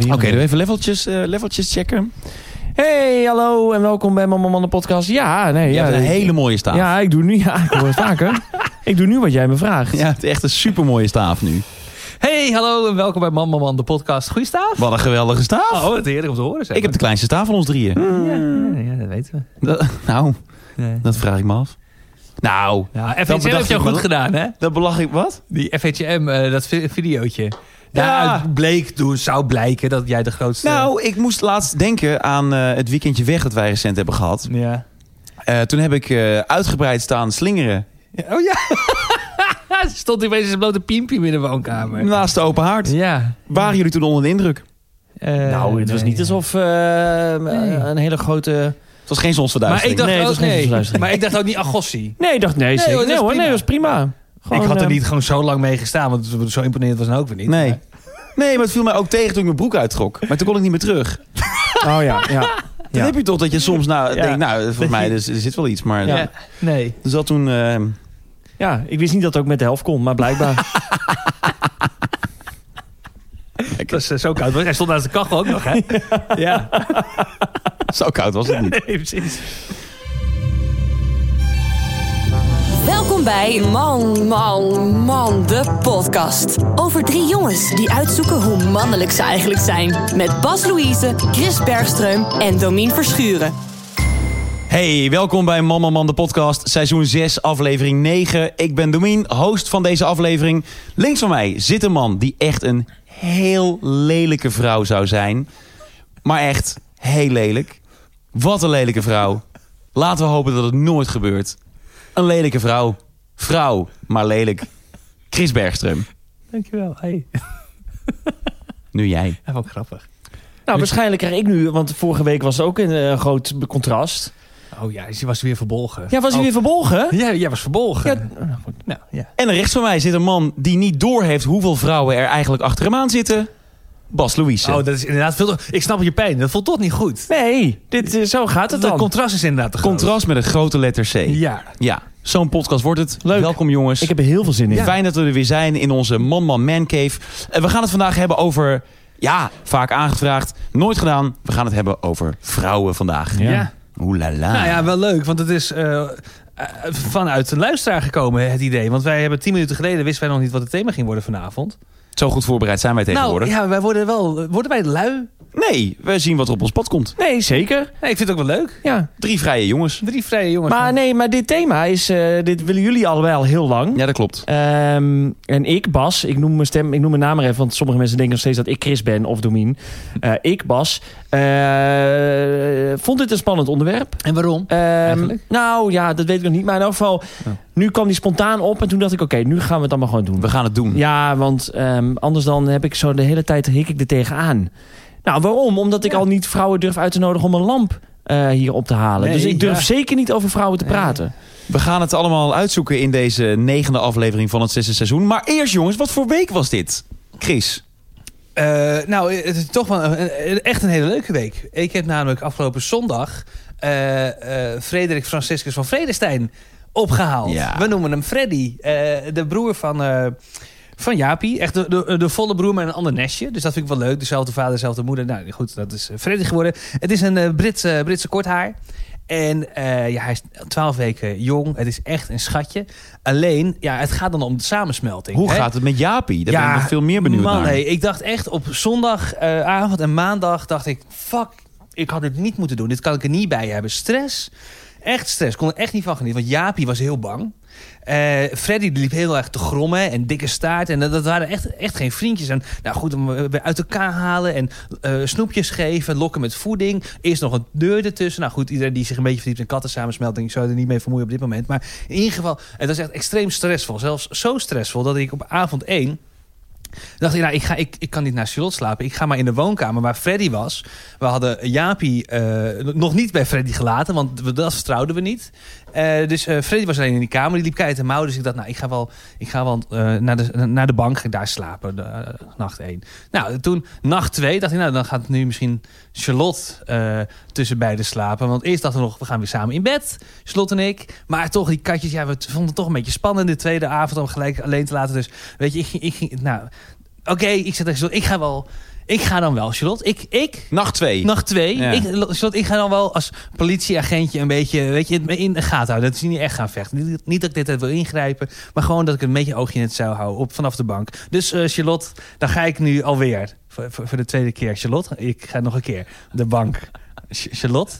Oké, Oké, doen we even leveltjes, eh, leveltjes checken. Hey, hallo en welkom bij Mama Mannen Podcast. Ja, nee, je ja, hebt een ik- hele mooie staaf. Ja, ik doe nu, ja, ik hoor het vaker. ik doe nu wat jij me vraagt. Ja, het is echt een supermooie staaf nu. Hey, hallo en welkom bij Mama Man, de podcast. Goeie staaf? Wat een geweldige staaf. Oh, het heerlijk om te horen. Zeg. Ik heb de kleinste staaf van ons drieën. ja, ja, ja, dat weten we. Dat- nou, Nee. dat vraag ik me af. Nou, Ja, Dat FHM bedacht heeft jou ik me goed wel. gedaan, hè? dat belach ik wat? Die FHM, eh, dat vi- videootje. Daaruit bleek, toen zou blijken dat jij de grootste... Nou, ik moest laatst denken aan eh, het weekendje weg dat wij recent hebben gehad. Ja. Eh, toen heb ik eh, uitgebreid staan slingeren Oh ja. Ze Stond hij opeens een blote piempje in de woonkamer. naast de open haard. Ja. Waren jullie toen onder de indruk? Eh, nou, het was nee. niet alsof eh, een hele grote... Het was geen Maar ik zonsverduistering. dacht, Nee, het was ook, geen nee. versluistering. maar ik dacht ook niet "Ah, agossie. Nee, ik dacht, nee, zeker. hoor, Nee, dat is hoor, nee, prima. dat was prima. Gewoon, ik had er eh, niet gewoon zo lang mee gestaan, want zo imponerend was het ook weer niet. Nee. Nee, maar het viel mij ook tegen toen ik mijn broek uittrok. Maar toen kon ik niet meer terug. Oh ja, ja. Dan Ja. heb je toch dat je soms nou, Ja. denkt, nou, volgens mij er, er zit wel iets. Maar Ja. Nee. dus dat toen... eh, Ja, ik wist niet dat het ook met de helft kon, maar blijkbaar. Het was eh, zo koud. Hij stond naast de kachel ook nog, hè? ja. Nou, zo koud was het niet. Nee, precies. Welkom bij Man, Man, Man, de podcast. Over drie jongens die uitzoeken hoe mannelijk ze eigenlijk zijn. Met Bas Louise, Chris Bergström en Domien Verschuren. Hey, welkom bij Mama Man de podcast, seizoen 6, aflevering 9. Ik ben Domien, host van deze aflevering. Links van mij zit een man die echt een heel lelijke vrouw zou zijn. Maar echt heel lelijk. Wat een lelijke vrouw. Laten we hopen dat het nooit gebeurt. Een lelijke vrouw. Vrouw, maar lelijk. Chris Bergström, Dankjewel. Hey. nu jij. Ja, wat grappig. nou, waarschijnlijk krijg ik nu, want vorige week was er ook een eh, groot contrast. Oh ja, je was weer verbolgen. Ja, was hij Oh. weer verbolgen? Ja, jij was verbolgen. Nou, ja. En rechts van mij zit een man die niet doorheeft hoeveel vrouwen er eigenlijk achter hem aan zitten. Bas Louise. Oh, dat is inderdaad veel. te- Ik snap je pijn. Dat voelt toch niet goed. Nee, dit, eh, zo gaat het Dat dan. contrast is inderdaad te groot. Contrast met een grote letter C. Ja. Ja, zo'n podcast wordt het. Leuk. Welkom jongens. Ik heb er heel veel zin in. Fijn dat we er weer zijn in onze Man Man Man Cave. Eh, we gaan het vandaag hebben over, ja, vaak aangevraagd, nooit gedaan. We gaan het hebben over vrouwen vandaag. Ja. ja. Oeh la la. Nou ja, wel leuk. Want het is eh, eh, vanuit de luisteraar gekomen, het idee. Want wij hebben tien minuten geleden, wisten wij nog niet wat het thema ging worden vanavond. Zo goed voorbereid zijn wij Nou, tegenwoordig. ja, wij worden wel... Worden wij lui? Nee, we zien wat er op ons pad komt. Nee, zeker. Nee, ik vind het ook wel leuk. Ja. Drie vrije jongens. Drie vrije jongens. Maar nee, maar dit thema is, eh, dit willen jullie allebei al heel lang. Ja, dat klopt. Ehm, en ik, Bas, ik noem mijn stem, ik noem mijn naam maar even, want sommige mensen denken nog steeds dat ik Chris ben of Domien. Eh, ik, Bas, eh, vond dit een spannend onderwerp. En waarom? Ehm, Eigenlijk? nou ja, dat weet ik nog niet, maar in elk geval, nu kwam die spontaan op en toen dacht ik, oké, nu gaan we het allemaal gewoon doen. We gaan het doen. Ja, want ehm, anders dan heb ik zo de hele tijd hik ik er tegenaan. Nou, waarom? Omdat ik Ja. al niet vrouwen durf uit te nodigen om een lamp eh, hier op te halen. Nee, dus ik durf ja. zeker niet over vrouwen te praten. We gaan het allemaal uitzoeken in deze negende aflevering van het zesde seizoen. Maar eerst jongens, wat voor week was dit? Chris. Eh, nou, het is toch wel een- een- echt een hele leuke week. Ik heb namelijk afgelopen zondag eh, eh, Frederik Franciscus van Vredestein opgehaald. Ja. We noemen hem Freddy. eh, de broer van, eh van Jaapie. Echt de, de, de volle broer met een ander nestje. Dus dat vind ik wel leuk. Dezelfde vader, dezelfde moeder. Nou goed, dat is eh, Freddy geworden. Het is een eh, Brits, eh, Britse korthaar. En eh, ja, hij is 12 weken jong. Het is echt een schatje. Alleen, ja, het gaat dan om de samensmelting. Hoe hè? gaat het met Jaapie? Daar ben ik nog veel meer benieuwd man, naar. hé, ik dacht echt op zondagavond en maandag dacht ik... fuck, ik had dit niet moeten doen. Dit kan ik er niet bij hebben. Stress, echt stress. Kon er echt niet van genieten. Want Jaapie was heel bang. Eh, Freddy liep heel erg te grommen en dikke staart. En dat, dat waren echt, echt geen vriendjes. En nou goed, hem eh, uit elkaar halen en eh, snoepjes geven, lokken met voeding. Eerst nog een deur ertussen. Nou goed, iedereen die zich een beetje verdiept in kattensamensmelting... zou er niet mee vermoeien op dit moment. Maar in ieder geval, het was echt extreem stressvol. Zelfs zo stressvol dat ik op avond 1 dacht ik, nou, ik, ga, ik, ik kan niet naar Charlotte slapen. Ik ga maar in de woonkamer waar Freddy was. We hadden Jaapie eh, nog niet bij Freddy gelaten, want we- dat vertrouwden we niet. Eh, dus eh, Freddy was alleen in die kamer. Die liep keihard te mouwen. Dus ik dacht, nou, ik ga wel, ik ga wel eh, naar, de, naar de bank daar slapen. de, eh, nacht één. Nou, toen nacht twee dacht ik, nou, dan gaat nu misschien Charlotte eh tussen beiden slapen. Want eerst dachten we nog, we gaan weer samen in bed. Charlotte en ik. Maar toch, die katjes, ja, we t- vonden het toch een beetje spannend. De tweede avond om gelijk alleen te laten. Dus weet je, ik ging, ik ging nou, Oké, ik zeg tegen Charlotte, ik ga wel. Ik ga dan wel, Charlotte. Ik, ik Nacht 2. nacht twee. Ja. Ik, Charlotte, ik ga dan wel als politieagentje een beetje weet je, in de gaten houden. Dat is niet echt gaan vechten. Niet, niet dat ik dit tijd wil ingrijpen, maar gewoon dat ik een beetje oogje in het zuil hou op, vanaf de bank. Dus eh, Charlotte, dan ga ik nu alweer. Voor, voor, voor de tweede keer, Charlotte. Ik ga nog een keer. De bank. Ch- Charlotte.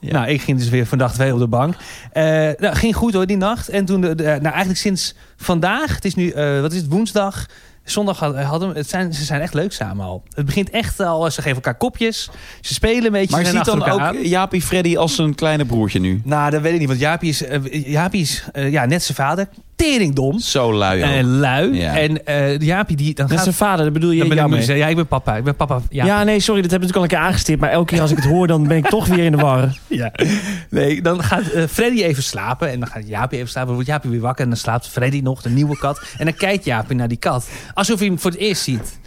Nou, ik ging dus weer vandaag twee op de bank. Eh, nou, ging goed hoor, die nacht. En toen, de, de- nou eigenlijk sinds vandaag, het is nu, eh, wat is het, woensdag. Zondag had- eh, hadden we, het zijn, ze zijn echt leuk samen al. Het begint echt al, ze geven elkaar kopjes. Ze spelen een beetje, Maar ze ziet zijn achter dan ook elkaar aan. Jaapie Freddy als zijn kleine broertje nu? Nou, dat weet ik niet, want Jaapie is, eh, Jaapie is eh, ja, net zijn vader. Teringdom. Zo lui ook. En lui. Ja. En eh Jaapie die, dan Dat is gaat... zijn vader, dat bedoel je? Dan ben ik Jaap moeder. mee. Ze- Ja, ik ben papa. Ik ben papa ja, Jaapie. nee, sorry, dat hebben we natuurlijk al een keer aangestipt. Maar elke keer als ik het hoor, dan ben ik toch weer in de war. Ja. Nee, dan gaat eh, Freddy even slapen. En dan gaat Jaapie even slapen. Dan wordt Jaapie weer wakker. En dan slaapt Freddy nog, de nieuwe kat. En dan kijkt Jaapie naar die kat. Alsof hij hem voor het eerst ziet.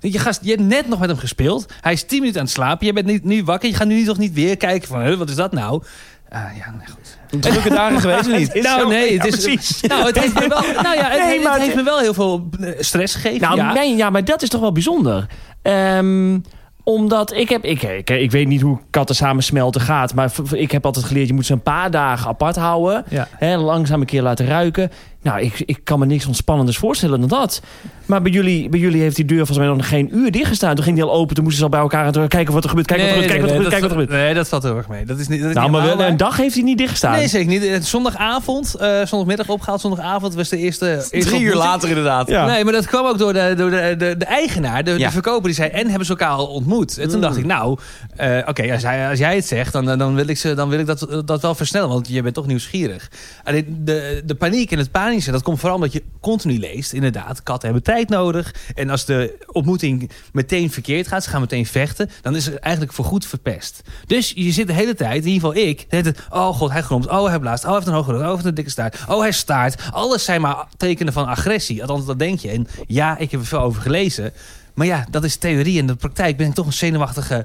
Je, gast, je hebt net nog met hem gespeeld. Hij is 10 minuten aan het slapen. Je bent nu, nu wakker. Je gaat nu toch niet weer kijken van, huh, wat is dat nou? Ah, ja, nee, goed. Drukke dagen geweest of niet? nou, nee, het is, precies. Nou, het heeft me wel, nou ja, het, Nee, heeft- maar het- het heeft me wel heel veel eh, stress gegeven. Nou, ja. nee, ja, maar dat is toch wel bijzonder. Ehm, omdat ik heb, ik, ik, ik weet niet hoe katten samen smelten gaat. Maar v- v- ik heb altijd geleerd, je moet ze een paar dagen apart houden. Ja. Hè, langzaam een keer laten ruiken. Nou, ik, ik kan me niks ontspannenders voorstellen dan dat. Maar bij jullie, bij jullie heeft die deur volgens mij nog geen uur dichtgestaan. Toen ging die al open, toen moesten ze al bij elkaar aan het kijken wat er gebeurt. Kijken wat er gebeurt, kijken wat er gebeurt, kijken wat er dat, gebeurt. nee, dat valt heel erg mee. Dat is niet, dat is Nou, niet maar wel- helemaal een waar. dag heeft hij niet dichtgestaan. Nee, zeker niet. Eh, Zondagavond, eh, zondagmiddag opgehaald. Zondagavond was de eerste. eerste Drie uur ontmoeting. later inderdaad. Ja. Nee, maar dat kwam ook door de, door de, de, de eigenaar, de, Ja. de verkoper. Die zei, en hebben ze elkaar al ontmoet? En toen dacht ik, nou, eh, oké, als, hij- als jij het zegt, dan, dan wil ik, ze, dan wil ik dat, dat wel versnellen. Want je bent toch nieuwsgierig. Alleen de, de paniek en het panische, dat komt vooral omdat je continu leest. Inderdaad, katten hebben tijd nodig. En als de ontmoeting meteen verkeerd gaat, ze gaan meteen vechten. Dan is het eigenlijk voorgoed verpest. Dus je zit de hele tijd, in ieder geval ik, de hele tijd, oh god, hij gromt, oh hij blaast, oh hij heeft een hoge rug, oh hij heeft een dikke staart, oh hij staart. Alles zijn maar tekenen van agressie, althans dat denk je. En ja, ik heb er veel over gelezen, maar ja, dat is theorie. In de praktijk ben ik toch een zenuwachtige,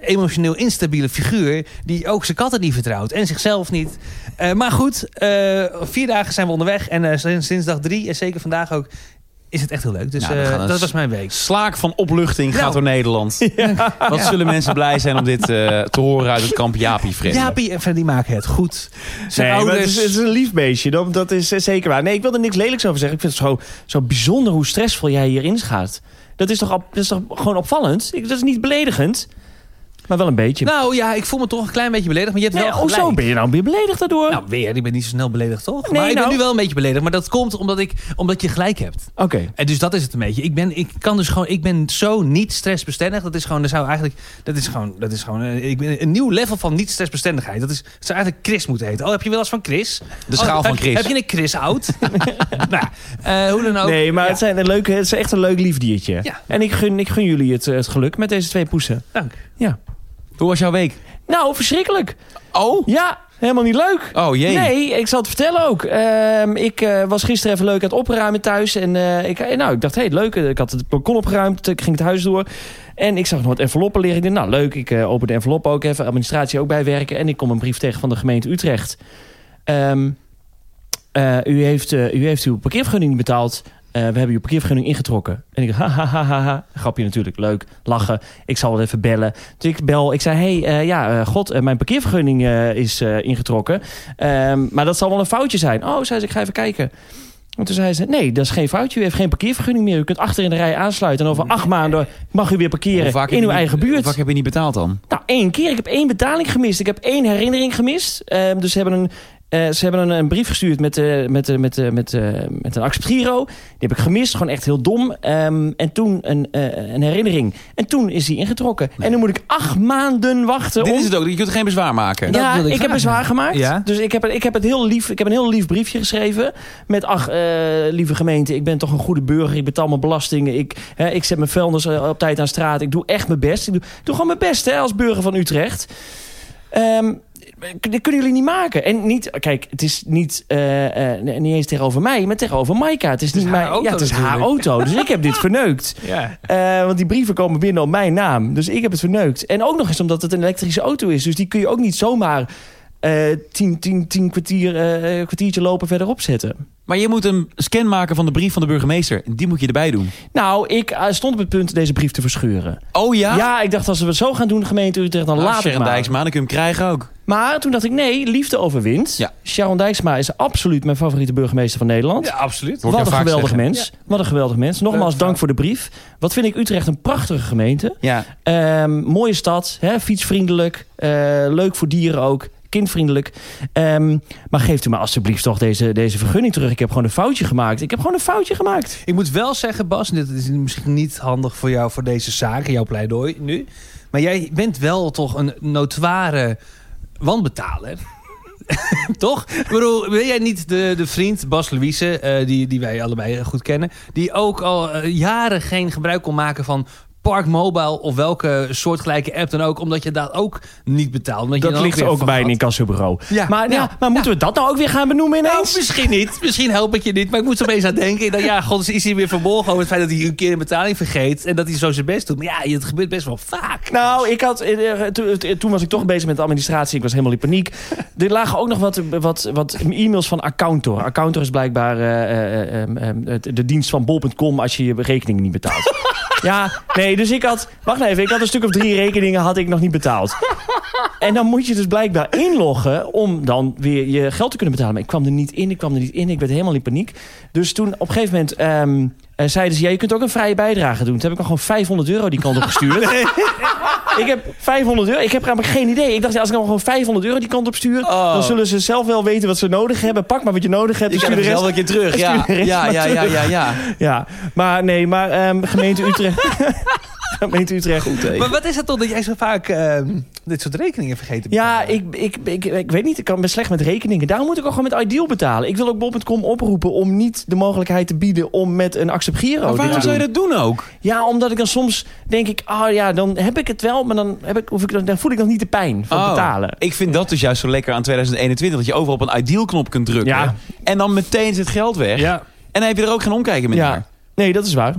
emotioneel instabiele figuur die ook zijn katten niet vertrouwt en zichzelf niet. Eh, maar goed, eh, vier dagen zijn we onderweg en eh, sinds, sinds dag drie en zeker vandaag ook is het echt heel leuk. Dus Nou, we eh, gaan eens- dat was mijn week. Slaak van opluchting Nou. gaat door Nederland. Wat zullen mensen blij zijn om dit eh, te horen uit het kamp Jaapie Freddy. Jaapie en Freddy maken het goed. Zijn Nee, maar het, ouders... is, het is een lief beestje. Dat, dat is eh, zeker waar. Nee, ik wil er niks lelijks over zeggen. Ik vind het zo, zo bijzonder hoe stressvol jij hierin gaat. Dat is toch, op- dat is toch gewoon opvallend? Ik, dat is niet beledigend. Maar wel een beetje. Nou ja, ik voel me toch een klein beetje beledigd. Maar je hebt nee, wel oh, gelijk. zo ben je nou weer beledigd daardoor. Nou, weer. Ik ben niet zo snel beledigd, toch? Nee, maar ik ben nou. nu wel een beetje beledigd. Maar dat komt omdat, ik, omdat je gelijk hebt. Oké. En dus dat is het een beetje. Ik ben, ik kan dus gewoon, ik ben zo niet stressbestendig. Dat is gewoon, dat zou eigenlijk, dat is gewoon, dat is gewoon eh, ik ben een nieuw level van niet stressbestendigheid. Dat is, het zou eigenlijk Chris moeten heten. Oh, heb je wel eens van Chris? De schaal Oh, van heb- Chris. Heb je een Chris-out? nou, eh, hoe dan ook. Nee, maar Ja, het, zijn een leuke, het is echt een leuk lief diertje. Ja. En ik gun, ik gun jullie het, eh, het geluk met deze twee poesen. Dank. Ja. Hoe was jouw week? Nou, verschrikkelijk. Oh? Ja, helemaal niet leuk. Oh jee. Nee, ik zal het vertellen ook. Ehm, ik eh, was gisteren even leuk aan het opruimen thuis. En eh, ik, eh, nou, ik dacht, hé, hey, leuk. eh, Ik had het balkon opgeruimd. Ik ging het huis door. En ik zag nog wat enveloppen liggen. Ik dacht, nou, leuk. Ik eh, open de envelop ook even. Administratie ook bijwerken. En ik kom een brief tegen van de gemeente Utrecht. Ehm, eh, u, heeft, eh, u heeft uw parkeervergunning niet betaald. Eh, we hebben uw parkeervergunning ingetrokken. En ik dacht, ha, ha, ha, ha, ha. Grapje natuurlijk, leuk, lachen. Ik zal wel even bellen. Dus ik bel, ik zei, hey, eh, ja, eh, god, eh, mijn parkeervergunning eh, is eh, ingetrokken. Ehm, maar dat zal wel een foutje zijn. Oh, zei ze, ik ga even kijken. En toen zei ze, nee, dat is geen foutje. U heeft geen parkeervergunning meer. U kunt achter in de rij aansluiten. En over acht maanden mag u weer Hoe parkeren vaak in heb uw je niet- eigen hoe buurt. vaak heb je niet betaald dan? Nou, één keer. Ik heb één betaling gemist. Ik heb één herinnering gemist. Ehm, dus ze hebben een, eh, ze hebben een, een brief gestuurd met, eh, met, eh, met, eh, met, eh, met een acceptgiro. Die heb ik gemist. Gewoon echt heel dom. Ehm, en toen een, eh, een herinnering. En toen is die ingetrokken. En nu moet ik acht maanden wachten Dit om... is het ook. Je kunt geen bezwaar maken. Dat Ja, wilde ik ik, heb vragen. bezwaar gemaakt. Ja? Dus ik heb, ik, heb het heel lief, ik heb een heel lief briefje geschreven. Met, ach, eh, lieve gemeente, ik ben toch een goede burger. Ik betaal mijn belastingen. Ik, hè, ik zet mijn vuilnis eh, op tijd aan straat. Ik doe echt mijn best. Ik doe, ik doe gewoon mijn best hè, als burger van Utrecht. Ehm, k- dit kunnen jullie niet maken. En niet, kijk, het is niet, eh, eh, niet eens tegenover mij, maar tegenover Maika. Het is, is niet haar mijn auto ja, het is haar natuurlijk. auto. Dus ik heb dit verneukt. Ja. Eh, want die brieven komen binnen op mijn naam. Dus ik heb het verneukt. En ook nog eens omdat het een elektrische auto is. Dus die kun je ook niet zomaar eh, eh, tien, tien, tien kwartier, eh, kwartiertje lopen verderop zetten. Maar je moet een scan maken van de brief van de burgemeester. Die moet je erbij doen. Nou, ik eh, stond op het punt deze brief te verscheuren. Oh ja? Ja, ik dacht als we het zo gaan doen, gemeente Utrecht, dan Ah, laat ik Sharon maar. Dijksma, dan kun je hem krijgen ook. Maar toen dacht ik, nee, liefde overwint. Ja. Sharon Dijksma is absoluut mijn favoriete burgemeester van Nederland. Ja, absoluut. Hoor ik jou Wat een vaak geweldig zeggen. mens. Wat een geweldig mens. Nogmaals, Leuk, dank voor de brief. Wat vind ik Utrecht een prachtige gemeente. Ja. Ehm, mooie stad, hè, fietsvriendelijk. eh, leuk voor dieren ook. Kindvriendelijk. Ehm, maar geeft u me alsjeblieft toch deze, deze vergunning terug. Ik heb gewoon een foutje gemaakt. Ik heb gewoon een foutje gemaakt. Ik moet wel zeggen, Bas, en dit is misschien niet handig voor jou voor deze zaak, jouw pleidooi nu. Maar jij bent wel toch een notoire wanbetaler. toch? Ik bedoel, ben jij niet de, de vriend Bas Louise, eh, die, die wij allebei goed kennen, die ook al eh, jaren geen gebruik kon maken van Park Mobile of welke soortgelijke app dan ook, omdat je daar ook niet betaalt. omdat je Dat dan ligt weer ook van bij had. een incassobureau. Ja, maar, ja, ja, maar moeten we dat nou ook weer gaan benoemen Nou, ineens? misschien niet. Misschien help ik je niet. Maar ik moest er opeens aan denken. Dat, ja, god, is hij weer verborgen over het feit dat hij een keer een betaling vergeet. En dat hij zo zijn best doet. Maar ja, het gebeurt best wel vaak. Nou, ik had, eh, eh, to- eh, toen was ik toch bezig met de administratie. Ik was helemaal in paniek. Er lagen ook nog wat, wat, wat e-mails van Accountor. Accountor is blijkbaar eh, eh, eh, eh, het- de dienst van bol.com als je je rekeningen niet betaalt. ja, nee, dus ik had... Wacht nou even, ik had een stuk of drie rekeningen had ik nog niet betaald. En dan moet je dus blijkbaar inloggen om dan weer je geld te kunnen betalen. Maar ik kwam er niet in, ik kwam er niet in. Ik werd helemaal in paniek. Dus toen op een gegeven moment ehm, eh, zeiden ze... Ja, je kunt ook een vrije bijdrage doen. Toen heb ik nog gewoon 500 euro die kant op gestuurd. Ik heb 500 euro. Ik heb namelijk geen idee. Ik dacht, als ik nou gewoon 500 euro die kant op stuur... Oh. dan zullen ze zelf wel weten wat ze nodig hebben. Pak maar wat je nodig hebt. Ik stuur heb de hem rest. wel een keer terug. Ja, de rest ja, maar ja, ja, ja, ja. Ja, maar nee, maar ehm, gemeente Utrecht... gemeente Utrecht. Maar wat is het toch dat jij zo vaak ehm, dit soort rekeningen vergeten bent? Ja, ik, ik, ik, ik weet niet. Ik kan best slecht met rekeningen. Daarom moet ik ook gewoon met Ideal betalen. Ik wil ook bol.com oproepen om niet de mogelijkheid te bieden... om met een Accept Giro Maar dit waarom te zou je doen. dat doen ook? Ja, omdat ik dan soms denk ik... ah ja, dan heb ik het wel, maar dan, heb ik, hoef ik, dan- dan voel ik nog niet de pijn van Oh, betalen. Ik vind dat dus juist zo lekker aan 2021. Dat je overal op een ideal knop kunt drukken. Ja. En dan meteen is het geld weg. Ja. En dan heb je er ook geen omkijken meer naar. Ja, nee, dat is waar.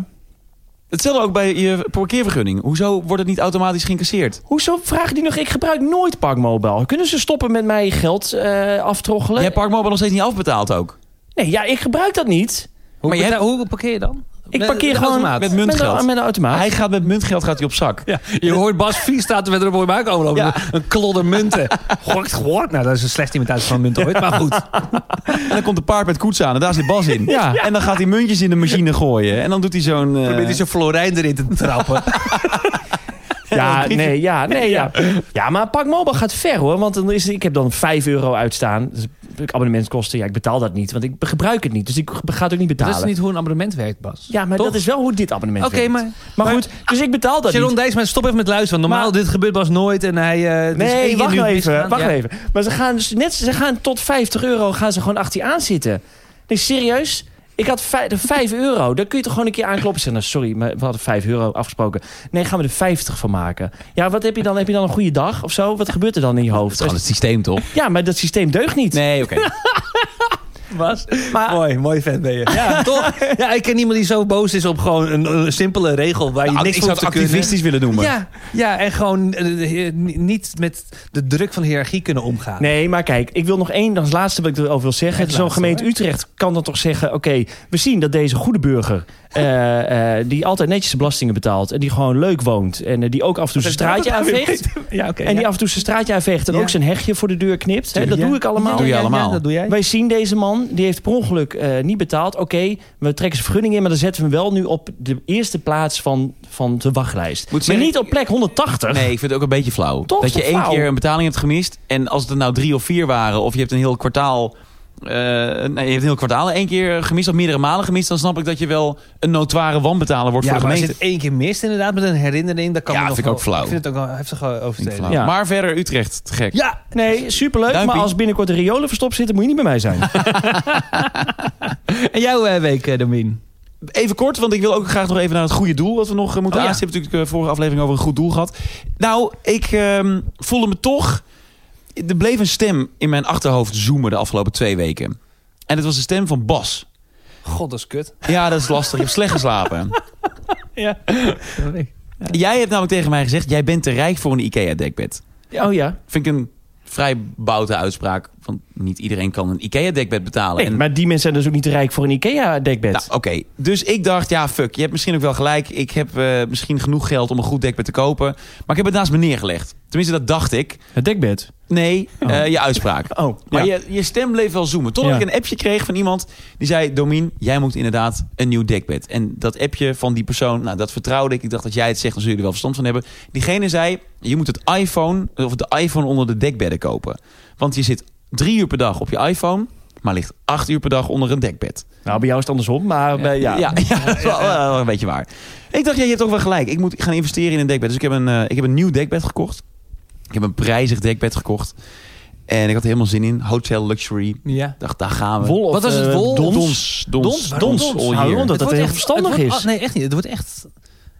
Hetzelfde ook bij je parkeervergunning. Hoezo wordt het niet automatisch geïncasseerd? Hoezo vragen die nog? Ik gebruik nooit Parkmobile. Kunnen ze stoppen met mij geld eh, aftroggelen? Jij hebt Parkmobile nog steeds niet afbetaald ook. Nee, ja, ik gebruik dat niet. Hoe, Maar je beta- hoe parkeer je dan? Ik Met- parkeer met gewoon automaat. met muntgeld. Met een, met een automaat. Hij gaat met muntgeld gaat hij op zak. Ja, je hoort Bas Vries staat er met een mooi maak overlopen. Ja. Een klodder munten. Gokt, gehoord. Nou, dat is een slechte imitatie van munten ooit. Maar goed. En dan komt een paard met koets aan en daar zit Bas in. Ja. En dan gaat hij muntjes in de machine gooien. En dan doet hij zo'n... eh, Probeert hij zo'n dus florijn erin te trappen. Ja, nee, ja, nee, ja. Ja, maar Parkmobile gaat ver hoor. Want dan is, ik heb dan 5 euro uitstaan. Dus ik- abonnementskosten, ja, ik betaal dat niet. Want ik gebruik het niet. Dus ik ga het ook niet betalen. Dat is niet hoe een abonnement werkt, Bas. Ja, maar Toch? dat is wel hoe dit abonnement Oké, werkt. maar- maar... goed, dus ik betaal dat Sharon niet. Dijksma, stop even met luisteren. want Normaal, Maar- dit gebeurt Bas nooit. En hij, eh, dit is één Nee, keer wacht nu nou even. misgaan. Wacht Ja. even. Maar ze gaan, dus net, ze gaan tot 50 euro gaan ze gewoon 18 aanzitten. Nee, serieus? Ik had vij- de 5 euro. Daar kun je toch gewoon een keer aankloppen. Zeggen, nou, sorry, maar we hadden 5 euro afgesproken. Nee, gaan we er 50 van maken. Ja, wat heb je dan? Heb je dan een goede dag of zo? Wat gebeurt er dan in je Het is hoofd? gewoon het systeem, toch? Ja, maar dat systeem deugt niet. Nee, oké. Bas. Maar- mooi, mooi fan ben je. Ja, toch? Ja, ik ken niemand die zo boos is op gewoon een, een simpele regel waar je Nou, ik niks zou voor het te kunnen. activistisch willen noemen. Ja, ja, en gewoon eh, eh, niet met de druk van de hiërarchie kunnen omgaan. Nee, maar kijk, ik wil nog één als laatste wat ik erover wil zeggen. Het Zo'n laatste, gemeente hoor. Utrecht kan dan toch zeggen... oké, we zien dat deze goede burger... eh, eh, die altijd netjes zijn belastingen betaalt... en die gewoon leuk woont... en eh, die ook af en toe zijn straatje aanveegt... Ja, oké. en die ja. af en toe zijn straatje aanveegt... en Ja. ook zijn hegje voor de deur knipt. Hè, dat Ja. doe ik allemaal. Doe je allemaal. dat doe jij. Wij zien deze man, die heeft per ongeluk eh, niet betaald. Oké, we trekken zijn vergunning in... maar dan zetten we hem wel nu op de eerste plaats van, van de wachtlijst. Moet maar zeggen- niet op plek 180. Nee, ik vind het ook een beetje flauw. Toch? dat je Toch één flauw? keer een betaling hebt gemist. En als het er nou drie of vier waren. Of je hebt een heel kwartaal. eh, nee, je hebt een heel kwartaal één keer gemist. Of meerdere malen gemist. Dan snap ik dat je wel een notoire wanbetaler wordt ja, voor de maar als gemeente. je het één keer mist inderdaad met een herinnering, dan kan Ja, het nog vind ik ook wel- flauw. Ik vind het ook wel heftig eh, oversteden. Flauw. Ja. Maar verder Utrecht. Te gek. Ja, Nee, superleuk. Duimpie. Maar als binnenkort de riolen verstopt zitten... moet je niet bij mij zijn. en jouw eh, week, eh, Domien? Even kort, want ik wil ook graag nog even naar het goede doel. Wat we nog eh, moeten Oh, ja. aanstippen. Natuurlijk eh, vorige aflevering over een goed doel gehad. Nou, ik ehm, voelde me toch... Er bleef een stem in mijn achterhoofd zoomen de afgelopen twee weken. En het was de stem van Bas. God, dat is kut. Ja, dat is lastig. Ik heb slecht geslapen. Ja. Jij hebt namelijk tegen mij gezegd, jij bent te rijk voor een IKEA-dekbed. Oh ja. Vind ik een vrij boute uitspraak. Want niet iedereen kan een IKEA-dekbed betalen. Nee, En- maar die mensen zijn dus ook niet te rijk voor een IKEA-dekbed. nou, oké. Dus ik dacht, ja, fuck. Je hebt misschien ook wel gelijk. Ik heb eh, misschien genoeg geld om een goed dekbed te kopen. Maar ik heb het naast me neergelegd. Tenminste, dat dacht ik. het dekbed. Nee, eh, je uitspraak. Oh, Maar ja. je, je stem bleef wel zoomen. Totdat Ja. ik een appje kreeg van iemand die zei... Domien, jij moet inderdaad een nieuw dekbed. En dat appje van die persoon, nou, dat vertrouwde ik. Ik dacht dat jij het zegt, dan zullen jullie er wel verstand van hebben. Diegene zei, je moet het iPhone, of de iPhone onder de dekbedden kopen. Want je zit drie uur per dag op je iPhone... maar ligt acht uur per dag onder een dekbed. Nou, bij jou is het andersom, maar bij, ja. Ja, ja, dat is wel, wel een beetje waar. Ik dacht, ja, je hebt ook wel gelijk. Ik moet gaan investeren in een dekbed. Dus ik heb een, eh, ik heb een nieuw dekbed gekocht. Ik heb een prijzig dekbed gekocht. En ik had er helemaal zin in. Hotel Luxury. Ik Ja. dacht, daar gaan we. Wol of, Wat was het, eh, wol? Dons? Dons. Dons. Waarom Dons. dons? all Hou year. je omdat Het dat wordt heel echt- het verstandig wordt- ah, is. nee, echt niet. Het wordt echt...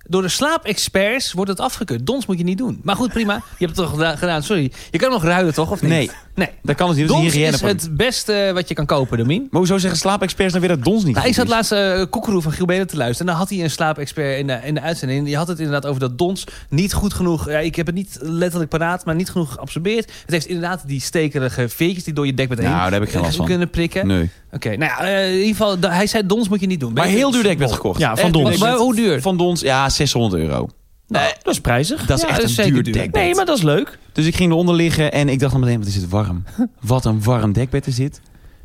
Door de slaapexperts wordt het afgekeurd. Dons moet je niet doen. Maar goed, prima. Je hebt het toch geda- gedaan. Sorry. Je kan hem nog ruilen, toch? Of niet? Nee. Dus nee. Dat kan het niet. Dat is Dons een is hygiëneproduct. het beste wat je kan kopen, Domien. Maar hoezo zeggen slaapexperts dan weer dat dons niet Nou, goed ik zat is? laatst eh Koekeroe van Giel Belen te luisteren. En dan had hij een slaapexpert in de, in de uitzending. Die had het inderdaad over dat dons niet goed genoeg... Ja, ik heb het niet letterlijk paraat, maar niet genoeg geabsorbeerd. Het heeft inderdaad die stekerige veertjes die door je dekbed heen Nou, daar heb ik geen last van. kunnen prikken. Nee. Oké, nou ja, eh, in ieder geval, da- hij zei dons moet je niet doen. Maar Ben je- heel duur dekbed gekocht. Ja, van Echt duur Dons. dekbed. Maar hoe duur? Van Dons, ja, 600 euro. Nou, dat is prijzig. Dat is Ja, echt dat is een zeker duur duur. dekbed. Nee, maar dat is leuk. Dus ik ging eronder liggen en ik dacht al meteen, wat is het warm. Wat een warm dekbed is dit.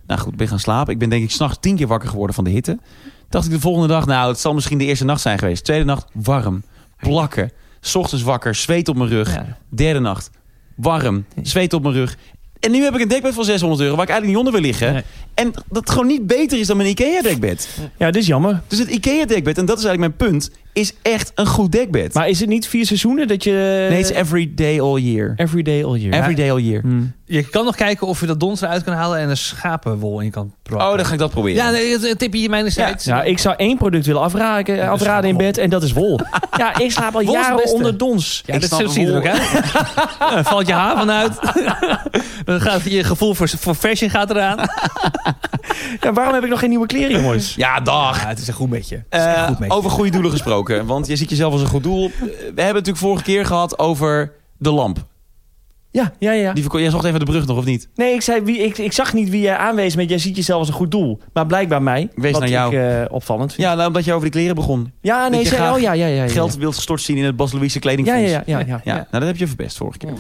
Nou goed, ik ben gaan slapen. Ik ben denk ik s'nachts tien keer wakker geworden van de hitte. Dacht ik de volgende dag, nou het zal misschien de eerste nacht zijn geweest. Tweede nacht, warm. Plakken. 's ochtends wakker, zweet op mijn rug. Ja. Derde nacht, warm. Zweet op mijn rug. En nu heb ik een dekbed van 600 euro waar ik eigenlijk niet onder wil liggen. Nee. En dat gewoon niet beter is dan mijn IKEA-dekbed. Ja, dit is jammer. Dus het IKEA-dekbed, en dat is eigenlijk mijn punt, is echt een goed dekbed. Maar is het niet vier seizoenen dat je... nee, het is every day all year. every day all year. Every day all year. Hmm. Je kan nog kijken of je dat dons eruit kan halen en een schapenwol in kan proppen. Oh, dan ga ik dat proberen. Ja, nee, het- het tipje hier mijnerzijds. Ja, nou, ik zou één product willen afraken, afraden in bed en dat is wol. Ja, ik slaap al Wol is het jaren beste. onder dons. Ja, Ik dat snap zo hem ziet het wel. ook uit. Ja, valt je haar vanuit. Dan gaat je gevoel voor, voor fashion gaat eraan. Ja, waarom heb ik nog geen nieuwe kleren, jongens? Ja, dag. het is een goed beetje. Eh, over goede doelen gesproken. Want je ziet jezelf als een goed doel. Eh, We hebben het natuurlijk vorige keer gehad over de lamp. Ja, ja, ja. Die verko- jij zocht even de brug nog, of niet? Nee, ik, zei wie, ik, ik zag niet wie jij aanwees met jij ziet jezelf als een goed doel. Maar blijkbaar mij, Wees wat naar jou. ik eh, opvallend vind. Ja, nou, omdat je over die kleren begon. Ja, Dat nee, je zei, graag oh ja, ja, ja. ja. Geld wilt gestort zien in het Bas Louise Ja, kledingfonds. ja, ja. ja, ja. Ja, nou dat heb je verpest vorige keer.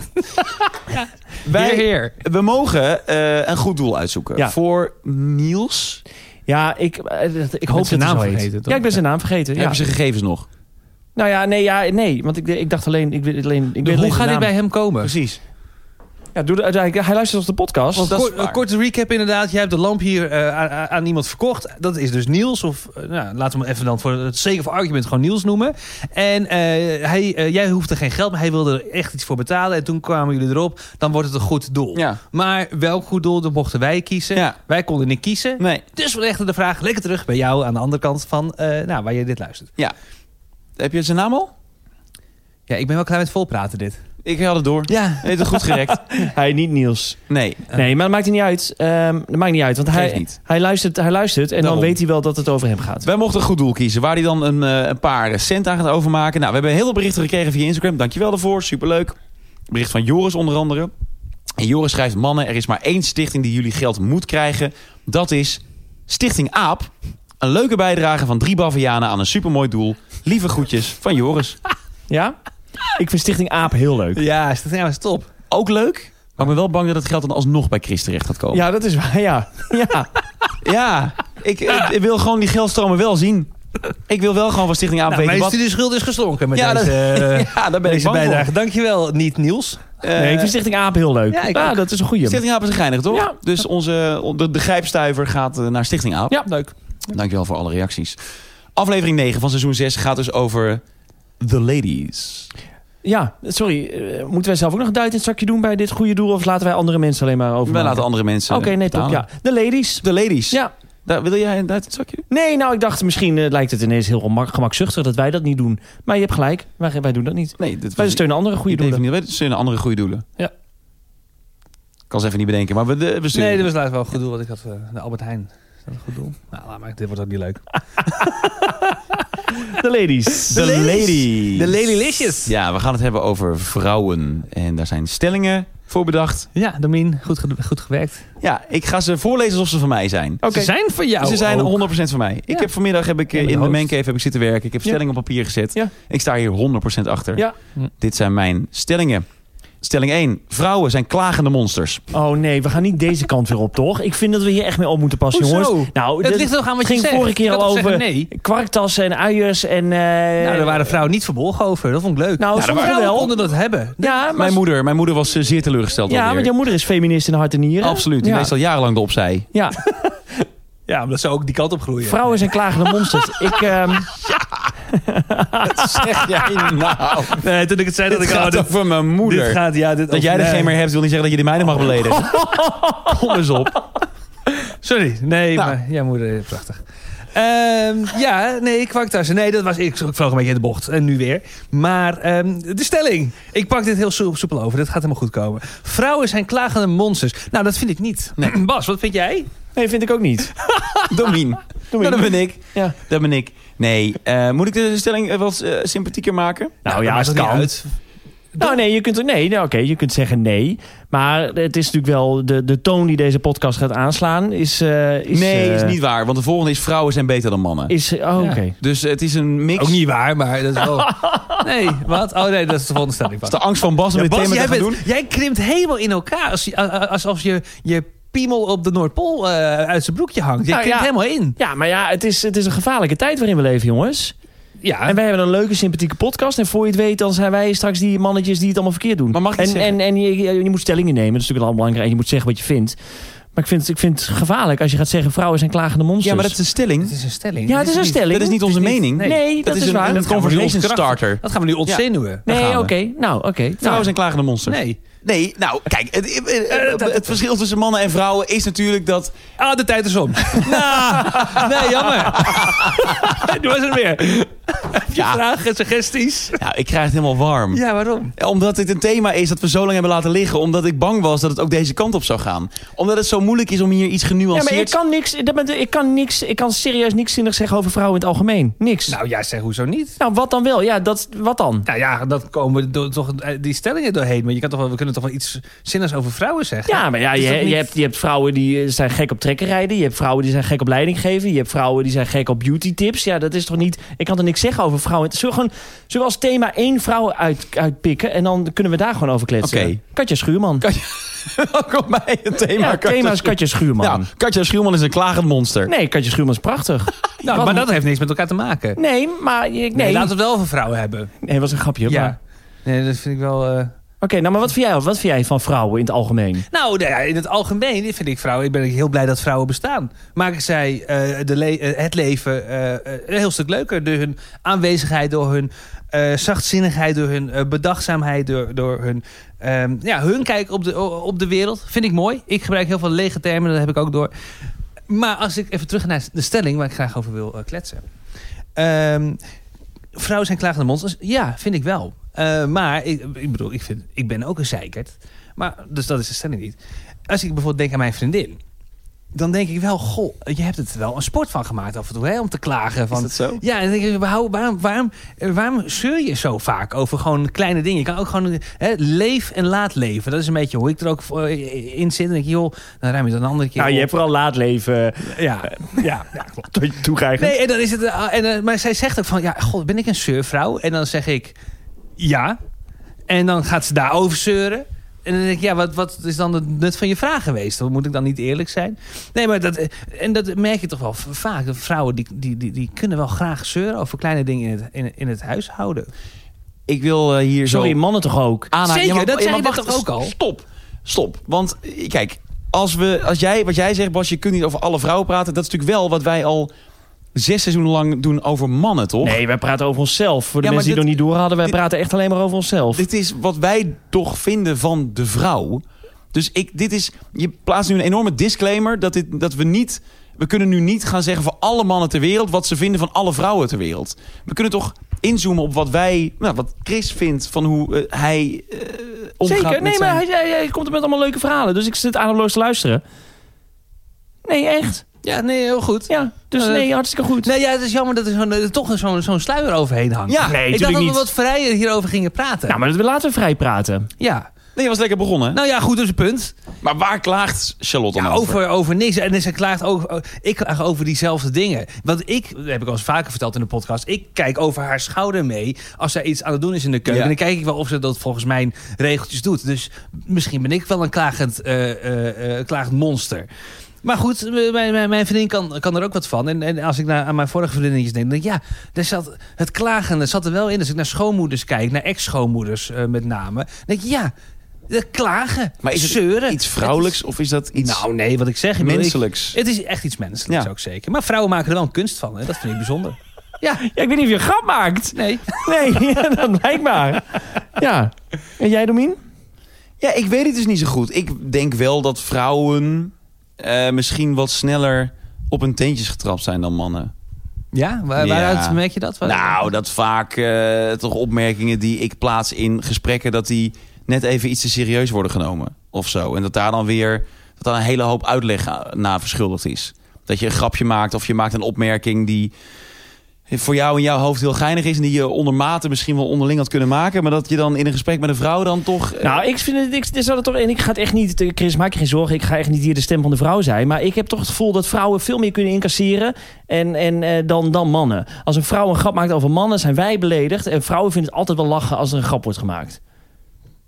Weer, Wij, weer. we mogen eh, een goed doel uitzoeken. Ja. Voor Niels Ja, ik, eh, dat- ik hoop zijn dat hij naam zo heet. vergeten, toch? Ja, ik ben zijn naam vergeten. Ja. hebben ze gegevens nog. Nou ja, nee, ja, nee. Want ik, ik dacht alleen... Ik, weet alleen, ik weet alleen Hoe de gaat dit naam. bij hem komen? Precies. Ja, doe, de- hij, hij luistert op de podcast. Want dat is Kort, waar. een korte recap inderdaad. Jij hebt de lamp hier eh, aan, aan- aan iemand verkocht. Dat is dus Niels. Of eh, nou, laten we hem even dan voor het zeker van argument gewoon Niels noemen. En eh, hij, eh, jij hoefde geen geld, maar hij wilde er echt iets voor betalen. En toen kwamen jullie erop. Dan wordt het een goed doel. Ja. Maar welk goed doel, dat mochten wij kiezen. Ja. Wij konden niet kiezen. Nee, Dus we legden de vraag lekker terug bij jou aan de andere kant van eh, nou, waar je dit luistert. ja. Heb je zijn naam al? Ja, ik ben wel klaar met volpraten dit. Ik had het door. Ja. Heeft het goed gerekt? Hij niet Niels. Nee. Nee, maar dat maakt niet uit. Ehm, dat maakt niet uit, want Geeft hij, niet. hij, luistert, hij luistert en Daarom. dan weet hij wel dat het over hem gaat. Wij mochten een goed doel kiezen, waar hij dan een, eh, een paar cent aan gaat overmaken. Nou, we hebben heel veel berichten gekregen via Instagram. Dankjewel daarvoor, superleuk. Bericht van Joris onder andere. En Joris schrijft, mannen, er is maar één stichting die jullie geld moet krijgen. Dat is Stichting AAP. Een leuke bijdrage van drie Bavianen aan een supermooi doel. Lieve groetjes van Joris. Ja? Ik vind Stichting Aap heel leuk. Ja, is dat nou eens top. Ook leuk, maar ik ben wel bang dat het geld dan alsnog bij Chris terecht gaat komen. Ja, dat is waar, ja. ja. Ja, ik, ik wil gewoon die geldstromen wel zien. Ik wil wel gewoon van Stichting AAP Nou, weten mijn wat... studieschuld is geslonken met Ja, dat- deze, eh, Ja, daar ben ik deze bang voor. bijdrage. Dankjewel, niet Niels. Nee, ik vind Stichting Aap heel leuk. Ja, Ja, ik ook. dat is een goeie. Stichting Aap is een geinig, toch? Ja. Dus onze, de, de grijpstuiver gaat eh, naar Stichting Aap. Ah, Ja, leuk. Dankjewel voor alle reacties. Aflevering 9 van seizoen 6 gaat dus over The Ladies. Ja, sorry. eh, moeten wij zelf ook nog een duit in het zakje doen bij dit goede doel? Of laten wij andere mensen alleen maar over? We laten andere mensen Oké, nee, top. betalen. Ja. De ladies. The Ladies. Ja. Daar, wil jij een duit in het zakje? Nee, nou, ik dacht misschien eh, lijkt het ineens heel gemak- gemakzuchtig dat wij dat niet doen. Maar je hebt gelijk. Wij, wij doen dat niet. Nee, dat Wij steunen andere goede doelen. Niet, wij steunen andere goede doelen. Ja. Ik kan ze even niet bedenken, maar we, de- we steunen. Nee, dat was laatst wel een goed doel wat ik had. eh, De Albert Heijn. Is dat een goed doel? Nou, laat maar. Dit wordt ook niet leuk. De ladies. The Ladies. De Lady Licious. Ja, we gaan het hebben over vrouwen. En daar zijn stellingen, voorbedacht. Ja, Domien, goed, ge- goed gewerkt. Ja, ik ga ze voorlezen alsof ze van mij zijn. Oké. Ze zijn van jou Oh. Ze zijn ook. 100% van mij. Ik Ja. heb vanmiddag heb ik eh, Ja, in de hoofd. mancave heb ik zitten werken. Ik heb Ja. stellingen op papier gezet. Ja. Ik sta hier 100% achter. Ja. Hm. Dit zijn mijn stellingen. Stelling 1. Vrouwen zijn klagende monsters. Oh nee, we gaan niet deze kant weer op, toch? Ik vind dat we hier echt mee op moeten passen, Hoezo? jongens. Nou, Het dit- ligt er nog aan wat je ging zegt. vorige keer Je kan al toch over- zeggen Nee. kwarktassen en uiers en... eh, Nou, daar waren vrouwen niet verbolgen over. Dat vond ik leuk. Nou, ja, sommigen vrouwen wel. konden dat hebben. ja, maar... Mijn moeder, mijn moeder was eh, zeer teleurgesteld. ja, alweer. want jouw moeder is feminist in hart en nieren. Absoluut. Die Ja. leest al jarenlang de opzij. Ja, Ja, omdat ze ook die kant op groeien. vrouwen zijn klagende monsters. ik, ehm, Zeg jij nou? Nee, toen ik het zei dat Dit ik... al gaat over mijn moeder. Dit gaat, ja, dit, Dat jij er geen meer hebt, wil niet zeggen dat je die meiden mag beledigen. Kom eens op. Sorry, nee, Nou. maar ja, moeder, eh, prachtig. Ehm, ja, nee, kwaktassen. Nee, dat was, ik, ik vloog een beetje in de bocht. En nu weer. Maar ehm, de stelling. Ik pak dit heel soe- soepel over. Dat gaat helemaal goed komen. Vrouwen zijn klagende monsters. Nou, dat vind ik niet. Bas, wat vind jij? nee, vind ik ook niet. Domien. Domien. dat ben ik. Ja. Dat ben ik. Nee. eh, moet ik de stelling eh, wat eh, sympathieker maken? Nou ja, maakt het toch niet kan. uit. Nou nee, je kunt, er- nee, nou, oké, je kunt zeggen nee. Maar het is natuurlijk wel... De, de toon die deze podcast gaat aanslaan is... eh, is nee, eh, is niet waar. Want de volgende is vrouwen zijn beter dan mannen. Is, oh, oké. Dus het is een mix. Ook niet waar, maar dat is wel... nee, wat? Oh nee, dat is de volgende stelling. Bas. Dat is de angst van Bas om Ja, dit Bas, thema te jij, gaan bent- doen. jij krimpt helemaal in elkaar. Als, je- a- a- alsof je je piemel op de Noordpool eh, uit zijn broekje hangt. Jij Nou, krimpt ja. helemaal in. Ja, maar ja, het is, het is een gevaarlijke tijd waarin we leven, jongens. Ja, En wij hebben een leuke, sympathieke podcast. En voor je het weet, dan zijn wij straks die mannetjes die het allemaal verkeerd doen. Maar mag ik iets en, zeggen? en, en je, je- je moet stellingen nemen, dat is natuurlijk wel belangrijk. En je moet zeggen wat je vindt. Maar ik vind, ik vind het gevaarlijk als je gaat zeggen... vrouwen zijn klagende monsters. Ja, maar dat is een stelling. het is een stelling. Ja, het is een niet- stelling. Dat is niet onze Het is niet- mening. Nee, dat, is, een, waar. een conversation starter. Dat gaan we nu ontzenuwen. daar Nee, gaan oké. we. Nou, oké. Vrouwen zijn klagende monsters. Nee. Nee, nou, kijk, het, het- het- het verschil tussen mannen en vrouwen is natuurlijk dat... Ah, de tijd is om. nou, nee, jammer. Doe was er weer. Heb je Ja. vragen en suggesties? Nou, ik krijg het helemaal warm. Ah. Ja, waarom? Omdat dit een thema is dat we zo lang hebben laten liggen. Omdat ik bang was dat het ook deze kant op zou gaan. Omdat het zo moeilijk is om hier iets Ja, maar ik genuanceerd... kan niks, dat ben- ik kan niks, ik kan serieus niks zinnigs zeggen over vrouwen in het algemeen. Niks. Nou, Nou, jij zegt hoezo niet? wat dan wel? Ja, dat, wat dan? Nou ja, dan komen we door- toch eh, die stellingen doorheen. Maar je kan toch wel, we kunnen toch wel iets zinnigs over vrouwen zeggen? Ja, maar ja, Is je, dat niet- je, hebt, je hebt vrouwen die eh, zijn gek op trekkerrijden. Je hebt vrouwen die zijn gek op leiding geven. Je hebt vrouwen die zijn gek op beauty tips. Ja, dat is toch niet... Ik kan er niks zeggen over vrouwen. Zullen we, gewoon, zullen we als thema één vrouw uit, uitpikken? En dan kunnen we daar gewoon over kletsen. Oké. Katja Schuurman. Welkom bij het thema. ja, thema is Katja Schuurman. Nou, Katja Schuurman is een klagend monster. Nee, Katja Schuurman is prachtig. nou, Wat- maar dat heeft niks met elkaar te maken. Nee, Nee, maar... je- Nee, nee, laten we het wel over vrouwen hebben. was een grapje. Ja. maar- Nee, dat vind ik wel... eh, Oké, nou, maar wat vind, jij, wat vind jij van vrouwen in het algemeen? Nou, nou ja, in het algemeen vind ik vrouwen... Ik ben heel blij dat vrouwen bestaan. Maken zij eh, de le- eh, het leven eh, eh, een heel stuk leuker. Door hun aanwezigheid, door hun eh, zachtzinnigheid... door hun eh, bedachtzaamheid, door, door hun, ehm, ja, hun kijk op de, o- op de wereld. Vind ik mooi. Ik gebruik heel veel lege termen, dat heb ik ook door. Maar als ik even terug ga naar de stelling... waar ik graag over wil eh, kletsen. Ehm, vrouwen zijn klagende monsters. Ja, vind ik wel. Eh, maar ik, ik bedoel, ik, vind, ik ben ook een zeikert. Maar, dus dat is de stelling niet. Als ik bijvoorbeeld denk aan mijn vriendin. Dan denk ik wel, goh, je hebt het wel een sport van gemaakt af en toe. Hè, om te klagen. Van, Is dat zo? Ja, en dan denk ik, waarom, waarom, waarom, eh, waarom zeur je zo vaak over gewoon kleine dingen? Je kan ook gewoon hè, leef en laat leven. Dat is een beetje hoe ik er ook voor- eh, in zit. En ik, joh, dan ruim je dat een andere keer Nou, op. Nou, vooral laat leven eh, ja, ja, ja, klopt. tot je toegeigend. Nee, en dan is het. eh, en, eh, maar zij zegt ook van: ja, god, ben ik een zeurvrouw? En dan zeg ik: ja. En dan gaat ze daarover zeuren. En dan denk ik, ja, wat, wat is dan het nut van je vraag geweest? Dan Moet ik dan niet eerlijk zijn? Nee, maar dat, eh, en dat merk je toch wel v- vaak. Dat vrouwen die, die, die, die kunnen wel graag zeuren over kleine dingen in het, in, in het huishouden. Ik wil eh, hier zo... Sorry, mannen toch ook? aanhaken. Zeker, dat zei je wacht, net toch ook al? Stop, stop. Want eh, kijk, als, we, als jij, wat jij zegt Bas, je kunt niet over alle vrouwen praten. Dat is natuurlijk wel wat wij al zes seizoenen lang doen over mannen, toch? Nee, wij praten over onszelf. Voor de Ja, maar mensen die dit- het nog niet door hadden, wij dit- praten echt alleen maar over onszelf. Dit is wat wij toch vinden van de vrouw. Dus ik, dit is, je plaatst nu een enorme disclaimer dat, dit, dat we niet... We kunnen nu niet gaan zeggen voor alle mannen ter wereld... wat ze vinden van alle vrouwen ter wereld. We kunnen toch inzoomen op wat wij... Nou, wat Chris vindt van hoe eh, hij eh, omgaat Zeker, met nee, maar zijn... hij, hij, hij komt er met allemaal leuke verhalen. Dus ik zit ademloos te luisteren. Nee, echt. Ja, nee, heel goed. Ja, dus Nou, dat- nee, hartstikke goed. Nee, ja, het is jammer dat er, zo'n- er toch een- zo'n zo'n sluier overheen hangt. Ja, nee, ik dacht natuurlijk dat we niet. wat vrijer hierover gingen praten. Nou, maar dat- laten we vrij praten. Ja. Nee, je was lekker begonnen. Nou ja, goed, dat is een punt. maar waar klaagt Charlotte Ja, dan over? over, over niks. En ze klaagt ook. Ik klaag over diezelfde dingen. Want ik, dat heb ik al eens vaker verteld in de podcast. Ik kijk over haar schouder mee. Als zij iets aan het doen is in de keuken. Ja. Dan kijk ik wel of ze dat volgens mijn regeltjes doet. Dus misschien ben ik wel een klagend, eh, eh, eh, klagend monster. Maar goed, m- mijn, mijn, mijn vriendin kan, kan er ook wat van. En, en als ik naar, aan mijn vorige vriendinnetjes denk, dan denk ik, ja, daar zat, het klagen zat er wel in. Als ik naar schoonmoeders kijk, naar ex-schoonmoeders eh, met name, dan denk ik, ja, dat klagen, Maar is het zeuren. Iets vrouwelijks of is dat iets Nou, nee, wat ik zeg. ik bedoel, ik- menselijks? het is echt iets menselijks Ja. ook zeker. Maar vrouwen maken er wel een kunst van. Hè? Dat vind ik bijzonder. Ja, Ja, ik weet niet of je een grap maakt. nee. Nee, dat blijkt maar. Ja. En jij, Domien? Ja, ik weet het dus niet zo goed. Ik denk wel dat vrouwen eh, misschien wat sneller op hun teentjes getrapt zijn dan mannen. Ja, waar- Ja. waaruit merk je dat? Waar- Nou, dat vaak eh, toch opmerkingen die ik plaats in gesprekken... dat die net even iets te serieus worden genomen of zo. En dat daar dan weer dat daar een hele hoop uitleg a- na verschuldigd is. Dat je een grapje maakt of je maakt een opmerking die voor jou in jouw hoofd heel geinig is... en die je onder mate misschien wel onderling had kunnen maken... maar dat je dan in een gesprek met een vrouw dan toch... eh, Nou, ik vind het, ik, dit zou het toch, en ik ga het echt niet, eh, Chris, maak je geen zorgen, ik ga echt niet hier de stem van de vrouw zijn, maar ik heb toch het gevoel dat vrouwen veel meer kunnen incasseren en, en, eh, dan, dan mannen. Als een vrouw een grap maakt over mannen, zijn wij beledigd en vrouwen vinden het altijd wel lachen als er een grap wordt gemaakt.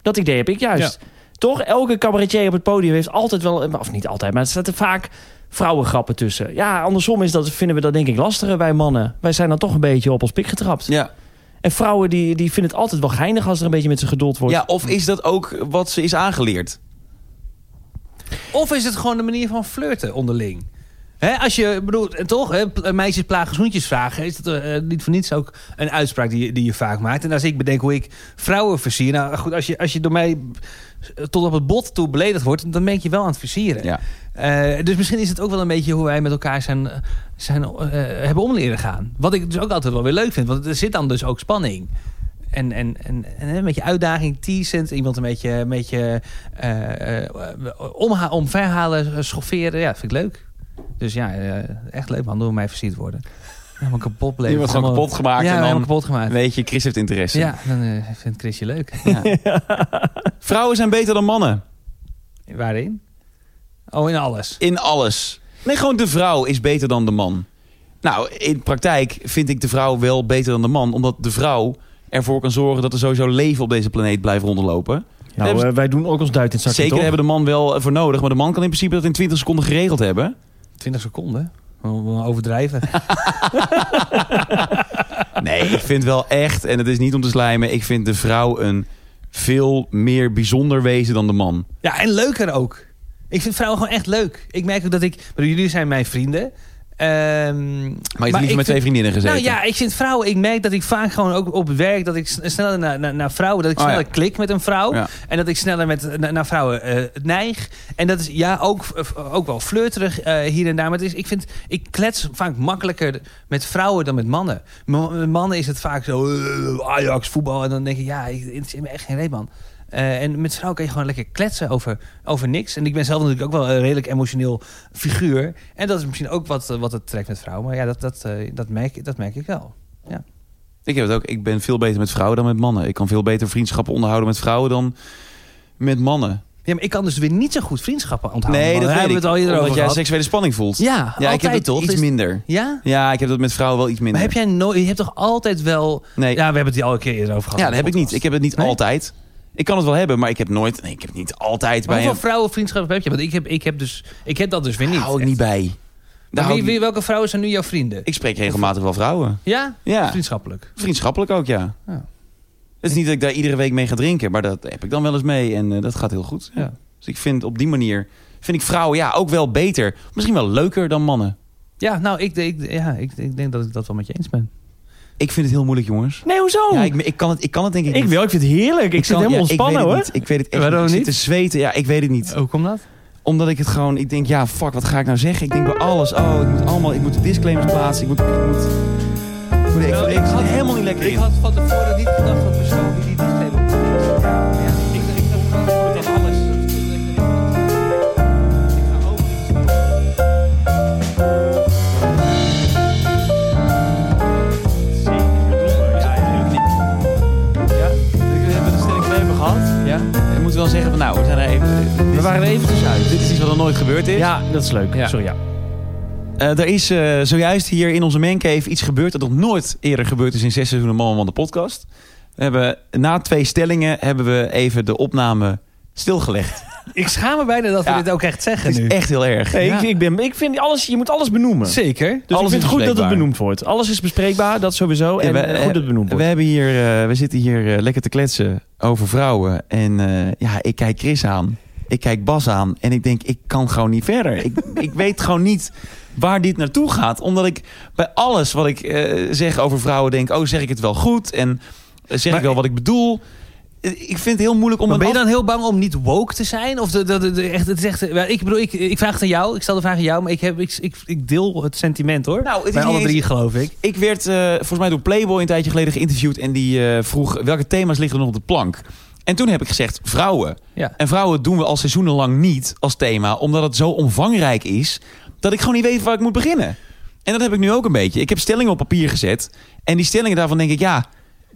Dat idee heb ik juist. Toch, elke cabaretier op het podium heeft altijd wel, of niet altijd, maar er zaten vaak vrouwengrappen tussen. Ja, andersom is dat, vinden we dat denk ik lastiger bij mannen. Wij zijn dan toch een beetje op ons pik getrapt. ja. En vrouwen die, die vinden het altijd wel geinig als er een beetje met ze gedold wordt. Ja, of is dat ook wat ze is aangeleerd? Of is het gewoon de manier van flirten onderling? Hè, als je bedoelt, en toch, hè, pl- eh, meisjes plagen zoentjes vragen. Is dat eh, niet voor niets ook een uitspraak die, je- die je vaak maakt? En als ik bedenk hoe ik vrouwen versier. Nou goed, als je, als je door mij eh, tot op het bot toe beledigd wordt, dan ben ik je wel aan het versieren. Ja. Eh, dus misschien is het ook wel een beetje hoe wij met elkaar zijn, eh, zijn, eh, hebben om leren gaan. Wat ik dus ook altijd wel weer leuk vind. Want er zit dan dus ook spanning. En, en, en, en een beetje uitdaging, teasend. Iemand een beetje, een beetje eh, eh, omha- omverhalen, eh, schofferen. Ja, vind ik leuk. Dus ja, eh, echt leuk man. Door mij versierd worden. Helemaal kapot bleef. Je wordt gewoon kapot gemaakt Ja, en dan- helemaal kapot gemaakt. Weet je, Chris heeft interesse. Ja, dan eh, vindt Chris je leuk. Vrouwen zijn beter dan mannen. Waarin? Oh, in alles. In alles. Nee, gewoon de vrouw is beter dan de man. Nou, in praktijk vind ik de vrouw wel beter dan de man. Omdat de vrouw ervoor kan zorgen dat er sowieso leven op deze planeet blijft rondlopen. Nou, eh, wij doen ook ons duit in het zakje, Zeker toch? hebben de man wel eh, voor nodig. Maar de man kan in principe dat in 20 seconden geregeld hebben. 20 seconden. We- we Overdrijven. Nee, ik vind wel echt, en het is niet om te slijmen... ik vind de vrouw een veel meer bijzonder wezen dan de man. Ja, en leuker ook. Ik vind vrouwen gewoon echt leuk. Ik merk ook dat ik... bedoel, jullie zijn mijn vrienden. Ehm, Maar je hebt ik liever met vind- twee vriendinnen gezeten. Nou ja, ik vind vrouwen... Ik merk dat ik vaak gewoon ook op werk... dat ik s- sneller naar, naar, naar vrouwen... dat ik Oh, ja. sneller klik met een vrouw. Ja. En dat ik sneller met, na- naar vrouwen eh, neig. En dat is ja, ook, eh, ook wel flirterig eh, hier en daar. Maar het is, ik vind, ik klets vaak makkelijker met vrouwen dan met mannen. M- Met mannen is het vaak zo eh, Ajax, voetbal. En dan denk ik, ja, ik interesseer me echt geen reet, man. Eh, en met vrouwen kan je gewoon lekker kletsen over, over niks. En ik ben zelf natuurlijk ook wel een redelijk emotioneel figuur. En dat is misschien ook wat, eh, wat het trekt met vrouwen. Maar ja, dat, dat, eh, dat, merk, dat merk ik wel. Ik heb het ook. Ik ben veel beter met vrouwen dan met mannen. Ik kan veel beter vriendschappen onderhouden met vrouwen dan met mannen. Ja, maar ik kan dus weer niet zo goed vriendschappen onthouden. nee, Want dat Nou, daar weet hebben ik. we het al eerder Omdat over jij gehad. seksuele spanning voelt. Ja, ja ik heb altijd, het toch toch? iets Is- minder. Ja? Ja, ik heb dat met vrouwen wel iets minder. Maar heb jij nooit, je hebt toch altijd wel... Nee, Ja, we ja, hebben het hier al een keer eerder over gehad. dat heb ik niet. Ik heb het niet Nee? altijd. Ik kan het wel hebben, maar ik heb nooit. Nee, ik heb het niet altijd Maar bij. hoeveel vrouwenvriendschappen heb je? Want ik heb, ik heb, dus, ik heb dat dus weer Daar niet. hou ik echt. niet bij. Daar Maar hou wie, ik, wie- welke vrouwen zijn nu jouw vrienden? ik spreek regelmatig wel vrouwen. Ja? Ja, Vriendschappelijk. vriendschappelijk ook, ja. Ja. Het is niet dat ik daar iedere week mee ga drinken, maar dat heb ik dan wel eens mee en eh, dat gaat heel goed. Ja. Ja. Dus ik vind op die manier vind ik vrouwen ja ook wel beter, misschien wel leuker dan mannen. Ja, nou, ik, ik, ja, ik, ik denk dat ik dat wel met je eens ben. Ik vind het heel moeilijk, jongens. Nee, hoezo? Nou. Ja, ik, ik, ik, kan het, ik kan het denk ik niet. wil, ik vind het heerlijk. Ik, zit kan- helemaal ja, ontspannen, ik weet hoor. het niet. Ik weet het echt Waarom niet. Ik niet? zit te zweten. Ja, ik weet het niet. Hoe komt dat? Omdat ik het gewoon... Ik denk, ja, fuck, wat ga ik nou zeggen? Ik denk bij alles. Oh, ik moet allemaal... Ik moet de disclaimers plaatsen. Ik moet... Ik moet ik moet- ik, Nou, ik, ik zit had- helemaal niet lekker Ik in. had van tevoren niet gedacht dat we zo die disclaimer moeten doen. Ja, ik ik dacht dat we dat alles. Ja? We hebben een stelling hebben gehad. Ja? Ik moet wel zeggen nou, waren er even tussenuit. Dit is iets wat er nooit gebeurd is. Ja, dat is leuk. Ja. Sorry, ja. Eh, er is eh, zojuist hier in onze mancave iets gebeurd dat nog nooit eerder gebeurd is in zes seizoenen Man van de podcast. We hebben, na twee stellingen hebben we even de opname stilgelegd. Ik schaam me bijna dat we Ja. Dus dit ook echt zeggen Het is nu. echt heel erg. Nee, Ja. ik, ik, ben, ik vind alles, je moet alles benoemen. Dus Zeker. alles ik vind het is goed dat het bespreekbaar. benoemd wordt. Alles is bespreekbaar, dat sowieso. En Ja, eh, we- goed dat het benoemd We, wordt. hebben hier, eh, we zitten hier eh, lekker te kletsen over vrouwen. En eh, ja, ik kijk Chris aan. Ik kijk Bas aan. En ik denk, ik kan gewoon niet verder. Ik, ik weet gewoon niet waar dit naartoe gaat. Omdat ik bij alles wat ik eh, zeg over vrouwen denk... oh, zeg ik het wel goed? En eh, zeg Maar- ik wel wat ik bedoel? Eh, Ik vind het heel moeilijk om... Maar een ben je af- dan heel bang om niet woke te zijn? Of dat- dat- dat- echt, het is echt, wel, ik bedoel, ik, ik vraag het aan jou. Ik stel de vraag aan jou, maar ik, heb, ik, ik, ik deel het sentiment hoor. Nou, het is Bij niet alle eens- drie geloof ik. Ik werd eh, volgens mij door Playboy een tijdje geleden geïnterviewd. En die eh, vroeg welke thema's liggen er nog op de plank. En toen heb ik gezegd vrouwen. Ja. En vrouwen doen we al seizoenenlang niet als thema. Omdat het zo omvangrijk is. Dat ik gewoon niet weet waar ik moet beginnen. En dat heb ik nu ook een beetje. Ik heb stellingen op papier gezet. En die stellingen daarvan denk ik ja.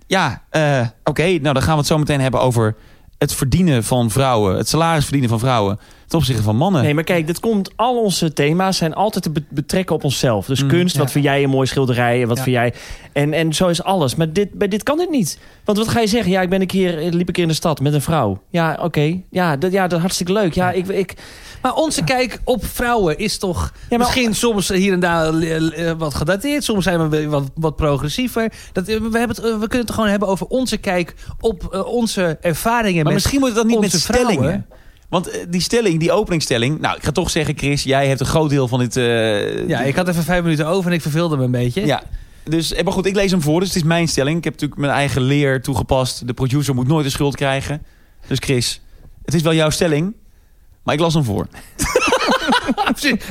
Ja, eh, oké. nou dan gaan we het zo meteen hebben over het verdienen van vrouwen. Het salaris verdienen van vrouwen. Ten opzichte van mannen. Nee, maar kijk, dat komt. Al onze thema's zijn altijd te be- betrekken op onszelf. Dus Mm, kunst, ja. wat vind jij een mooie schilderij? en Wat Ja. vind jij? En, en zo is alles. Maar dit, bij dit kan dit niet. Want wat ga je zeggen? Ja, ik ben een keer, eh, liep ik in de stad met een vrouw. Ja, oké. Ja, dat, ja, dat is hartstikke leuk. Ja, ik, ik, Maar onze kijk op vrouwen is toch maar- misschien soms hier en daar eh, eh, wat gedateerd. Soms zijn we wat, wat progressiever. Dat, eh, we, hebben het, eh, we kunnen het gewoon hebben over onze kijk op eh, onze ervaringen. Maar met- misschien moet het dat niet met onze vrouwen. stellingen. Want eh, die stelling, die openingsstelling... Nou, ik ga toch zeggen, Chris, jij hebt een groot deel van dit... eh, Ja, dit- ik had even vijf minuten over en ik verveelde me een beetje. ja. Dus, eh, maar goed, ik lees hem voor, dus het is mijn stelling. Ik heb natuurlijk mijn eigen leer toegepast. De producer moet nooit de schuld krijgen. Dus Chris, het is wel jouw stelling, maar ik las hem voor.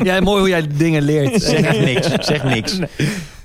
Ja, mooi hoe jij dingen leert. Zeg echt niks, zeg niks. Maar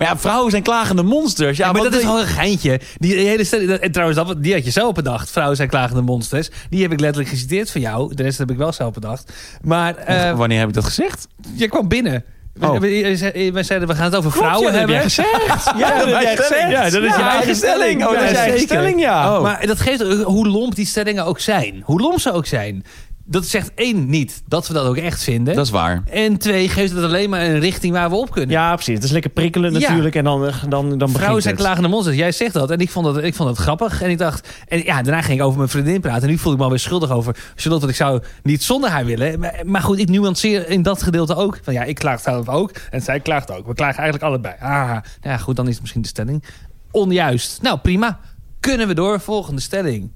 ja, vrouwen zijn klagende monsters. Ja, Ja, maar wat dat is wil je- al een geintje. Die hele stelling, dat- en trouwens, dat, die had je zelf bedacht. Vrouwen zijn klagende monsters. Die heb ik letterlijk geciteerd van jou. De rest heb ik wel zelf bedacht. Maar eh Wanneer heb ik dat gezegd? je kwam binnen. We- Oh. We, je zei- we zeiden, we gaan het over vrouwen ja, dat heb hebben. jij gezegd. Ja, dat heb jij gezegd. Ja, dat is je eigen stelling. Oh, dat is je eigen zeker. stelling, ja. Oh. Maar dat geeft hoe lomp die stellingen ook zijn. Hoe lomp ze ook zijn. Dat zegt één niet dat we dat ook echt vinden. Dat is waar. En twee geeft het alleen maar een richting waar we op kunnen. Ja, precies. Het is lekker prikkelen Ja. natuurlijk. En dan, eh, dan, dan begint Vrouwen zijn het. klagende monsters. Jij zegt dat. En ik vond dat, ik vond dat grappig. En ik dacht. En ja, daarna ging ik over mijn vriendin praten. En nu voelde ik me alweer schuldig over. Charlotte, want ik zou niet zonder haar willen. Maar, maar goed, ik nuanceer in dat gedeelte ook. Van ja, ik klaag zelf ook. En zij klaagt ook. We klagen eigenlijk allebei. Ah, nou ja, goed, dan is het misschien de stelling onjuist. Nou, prima. Kunnen we door. Volgende stelling.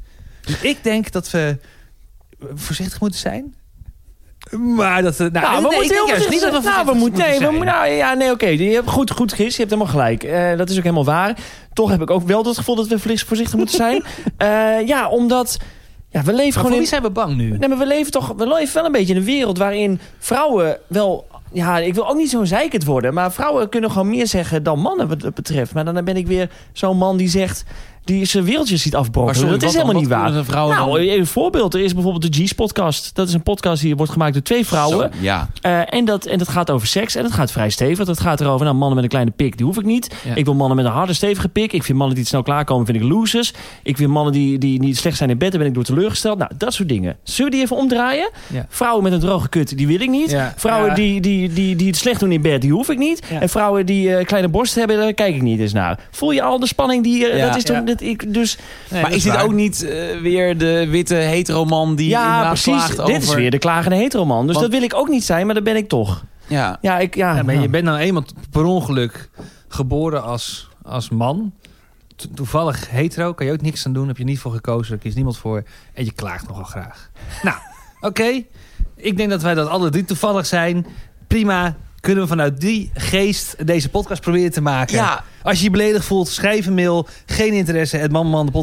Ik denk dat we voorzichtig moeten zijn. Maar dat... Nou, Nou, we nee, ik moeten denk heel juist voorzichtig niet dat we zijn. Nou, we voorzichtig moeten, nee, we zijn. moeten, nou, ja, nee, oké. Je hebt goed, goed, Chris. Je hebt helemaal gelijk. Eh, dat is ook helemaal waar. Toch heb ik ook wel dat gevoel dat we vlieg- voorzichtig moeten zijn. Eh, ja, omdat... Ja, we leven Maar voor gewoon wie in... zijn we bang nu? Nee, maar we leven toch... We leven wel een beetje in een wereld waarin vrouwen wel... Ja, ik wil ook niet zo'n zeikend worden. Maar vrouwen kunnen gewoon meer zeggen dan mannen wat dat betreft. Maar dan ben ik weer zo'n man die zegt... Die zijn wereldjes ziet afbrokkelen. sorry, dat is wat dan? helemaal niet Wat waar. kunnen de vrouwen nou, dan- een voorbeeld. Er is bijvoorbeeld de G's-podcast. Dat is een podcast die wordt gemaakt door twee vrouwen. Zo, ja. Eh, en, dat, en dat gaat over seks. En dat gaat vrij stevig. Dat gaat erover, nou, mannen met een kleine pik, die hoef ik niet. Ja. Ik wil mannen met een harde, stevige pik. Ik vind mannen die het snel klaarkomen, vind ik losers. Ik vind mannen die, die niet slecht zijn in bed, daar ben ik door teleurgesteld. Nou, dat soort dingen. Zullen we die even omdraaien? Ja. Vrouwen met een droge kut, die wil ik niet. Ja. Vrouwen Ja. Die, die, die, die het slecht doen in bed, die hoef ik niet. Ja. En vrouwen die eh, kleine borst hebben, daar kijk ik niet eens naar. Voel je al de spanning die... eh, Ja. dat is toch, Ja. dat ik, dus Nee, maar dat is dit waar. ook niet eh, weer de witte heteroman die ja, inderdaad precies. klaagt Dit over... is weer de klagende heteroman. Dus Want- dat wil ik ook niet zijn, maar dat ben ik toch. Ja. Ja, ik... Ja, Ja, maar ja. je bent nou eenmaal per ongeluk geboren als, als man. To- toevallig hetero, kan je ook niks aan doen. Heb je niet voor gekozen, daar kiest niemand voor. En je klaagt nogal graag. Nou, oké. Ik denk dat wij dat alle drie toevallig zijn. Prima. Kunnen we vanuit die geest deze podcast proberen te maken. Ja. Als je je beledigd voelt, schrijf een mail. Geen interesse, het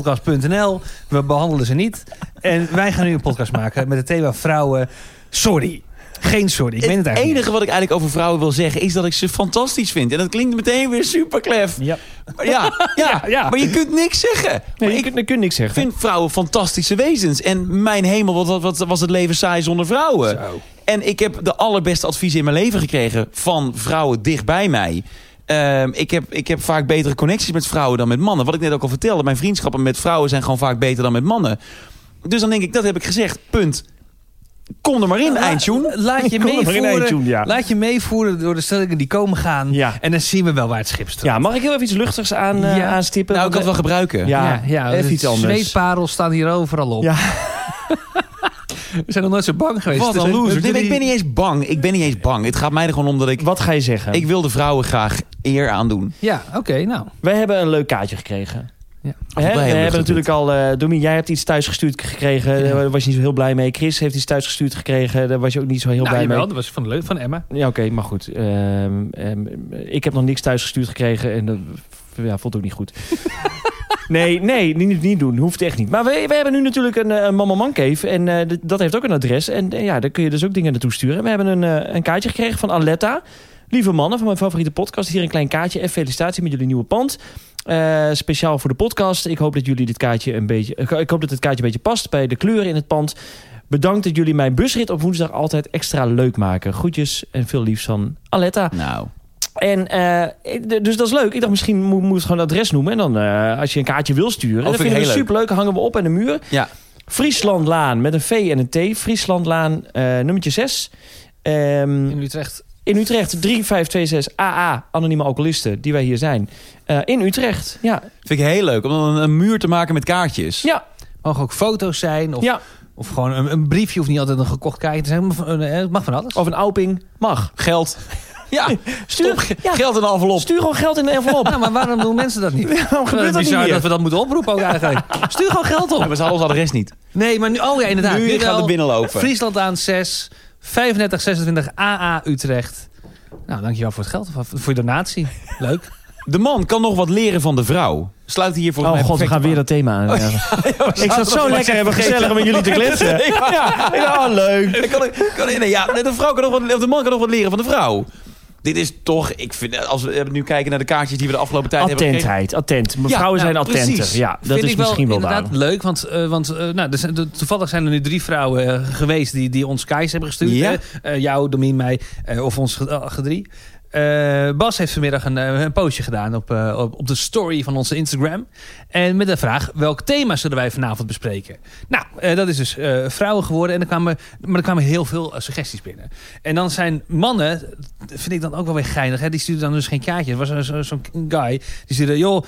manmandepodcast.nl. We behandelen ze niet. En wij gaan nu een podcast maken met het thema vrouwen. Sorry. Geen sorry. Ik meen het het eigenlijk niet. enige wat ik eigenlijk over vrouwen wil zeggen is dat ik ze fantastisch vind. En dat klinkt meteen weer super klef. Ja. Maar Ja, ja, Ja, ja. maar je kunt niks zeggen. Nee, maar je, ik kunt, je kunt niks zeggen. vind vrouwen fantastische wezens. En mijn hemel, wat, wat, wat was het leven saai zonder vrouwen. Zo. En ik heb de allerbeste adviezen in mijn leven gekregen van vrouwen dicht bij mij. Ehm, ik, heb, ik heb vaak betere connecties met vrouwen dan met mannen. Wat ik net ook al vertelde, mijn vriendschappen met vrouwen zijn gewoon vaak beter dan met mannen. Dus dan denk ik, dat heb ik gezegd, punt. Kom er maar in, eindtune. Laat je, Kom er maar in, meevoeren, eindtune, ja. laat je meevoeren door de stellingen die komen gaan. Ja. En dan zien we wel waar het schip strandt. Ja, mag ik heel even iets luchtigs aan, eh, Ja. aanstippen? Nou, ik kan het Want, wel gebruiken. Ja. even de iets anders. Zweetparels staan hier overal op. Ja. We zijn nog nooit zo bang geweest. Wat Dus een we- loser. we- Nee, ik ben niet eens bang. Ik ben niet eens bang. Het gaat mij er gewoon om dat ik... eh, Wat ga je zeggen? Ik wil de vrouwen graag eer aandoen. Ja, oké, nou. Wij hebben een leuk kaartje gekregen. Ja. Hè, Allebei we heel hebben luchtig natuurlijk al... eh Domien, jij hebt iets thuis gestuurd gekregen. Daar was je niet zo heel blij mee. Chris heeft iets thuis gestuurd gekregen. Daar was je ook niet zo heel nou blij jawel, mee. dat was van, leuk, van Emma. Ja, oké, maar goed. Ehm, ehm, ik heb nog niks thuis gestuurd gekregen en dat ja, vond ik ook niet goed. nee, nee, niet, niet doen. Hoeft echt niet. Maar we, we hebben nu natuurlijk een, eh, een Mama Man Cave en eh, d- dat heeft ook een adres. En eh, ja, daar kun je dus ook dingen naartoe sturen. We hebben een, eh, een kaartje gekregen van Aletta. Lieve mannen van mijn favoriete podcast, hier een klein kaartje. En felicitatie met jullie nieuwe pand. Eh, speciaal voor de podcast. Ik hoop dat jullie dit kaartje een beetje. eh, ik- Ik hoop dat het kaartje een beetje past bij de kleuren in het pand. Bedankt dat jullie mijn busrit op woensdag altijd extra leuk maken. Groetjes en veel liefs van Aletta. Nou, En eh, ik- dus dat is leuk. Ik dacht, misschien moet, moet het gewoon het adres noemen. En dan, eh, als je een kaartje wil sturen, Oh, dat vind ik vinden we heel leuk. superleuk. Hangen we op aan de muur. ja. Frieslandlaan met een V en een T. Frieslandlaan, eh nummertje 6. Ehm, In Utrecht. in Utrecht, 3526 AA, anonieme alcoholisten, die wij hier zijn. Eh, in Utrecht, ja. Vind ik heel leuk. Om dan een muur te maken met kaartjes. Ja, Mogen ook foto's zijn. Of, ja. of gewoon een, een briefje. Of niet altijd een gekocht kaartje te zijn. maar van- eh, Het mag van alles. Of een Auping, mag. Geld. Ja. Stuur, ja, Geld in de envelop. stuur gewoon geld in de envelop. Ja, Nou, maar waarom doen mensen dat niet? Waarom gebeurt dat niet bizar meer? dat we dat moeten oproepen ook eigenlijk. Stuur gewoon geld Ja, op. maar ze hadden ons adres niet. Nee, maar nu... Oh ja, inderdaad. nu gaat wel. het binnenlopen. Friesland aan 6, 35, 26 AA Utrecht. Nou, dankjewel voor het geld. Of voor je donatie. Leuk. De man kan nog wat leren van de vrouw. Sluit hier volgens Oh mij god, we perfect gaan op weer dat thema aan. ik zat zo lekker en gezellig om met jullie te kletsen. ja, ik dacht, oh, leuk. aan. Kan ik- kan ik- nee, ja, nee, de, vrouw kan nog wat, of de man kan nog wat leren van de vrouw. Dit is toch, ik vind, als we nu kijken naar de kaartjes die we de afgelopen tijd hebben gekregen. Attentheid, attent. Mevrouwen Ja, zijn nou, attenter. precies. Ja, dat Vind is ik wel misschien wel waar. inderdaad leuk, want, eh, want eh, nou, er zijn, er- toevallig zijn er nu drie vrouwen eh, geweest die, die ons kaars hebben gestuurd. Ja. hè? Eh, jou, Domien, mij eh, of ons ge- eh, gedrie. Eh, Bas heeft vanmiddag een, eh, een postje gedaan op, eh, op, op de story van onze Instagram. En met de vraag, welk thema zullen wij vanavond bespreken? Nou, eh, dat is dus eh, vrouwen geworden. En er kwamen, maar er kwamen heel veel eh, suggesties binnen. En dan zijn mannen, dat vind ik dan ook wel weer geinig. Hè? Die stuurden dan dus geen kaartje. Er was zo- zo- zo'n guy, die stuurde... joh,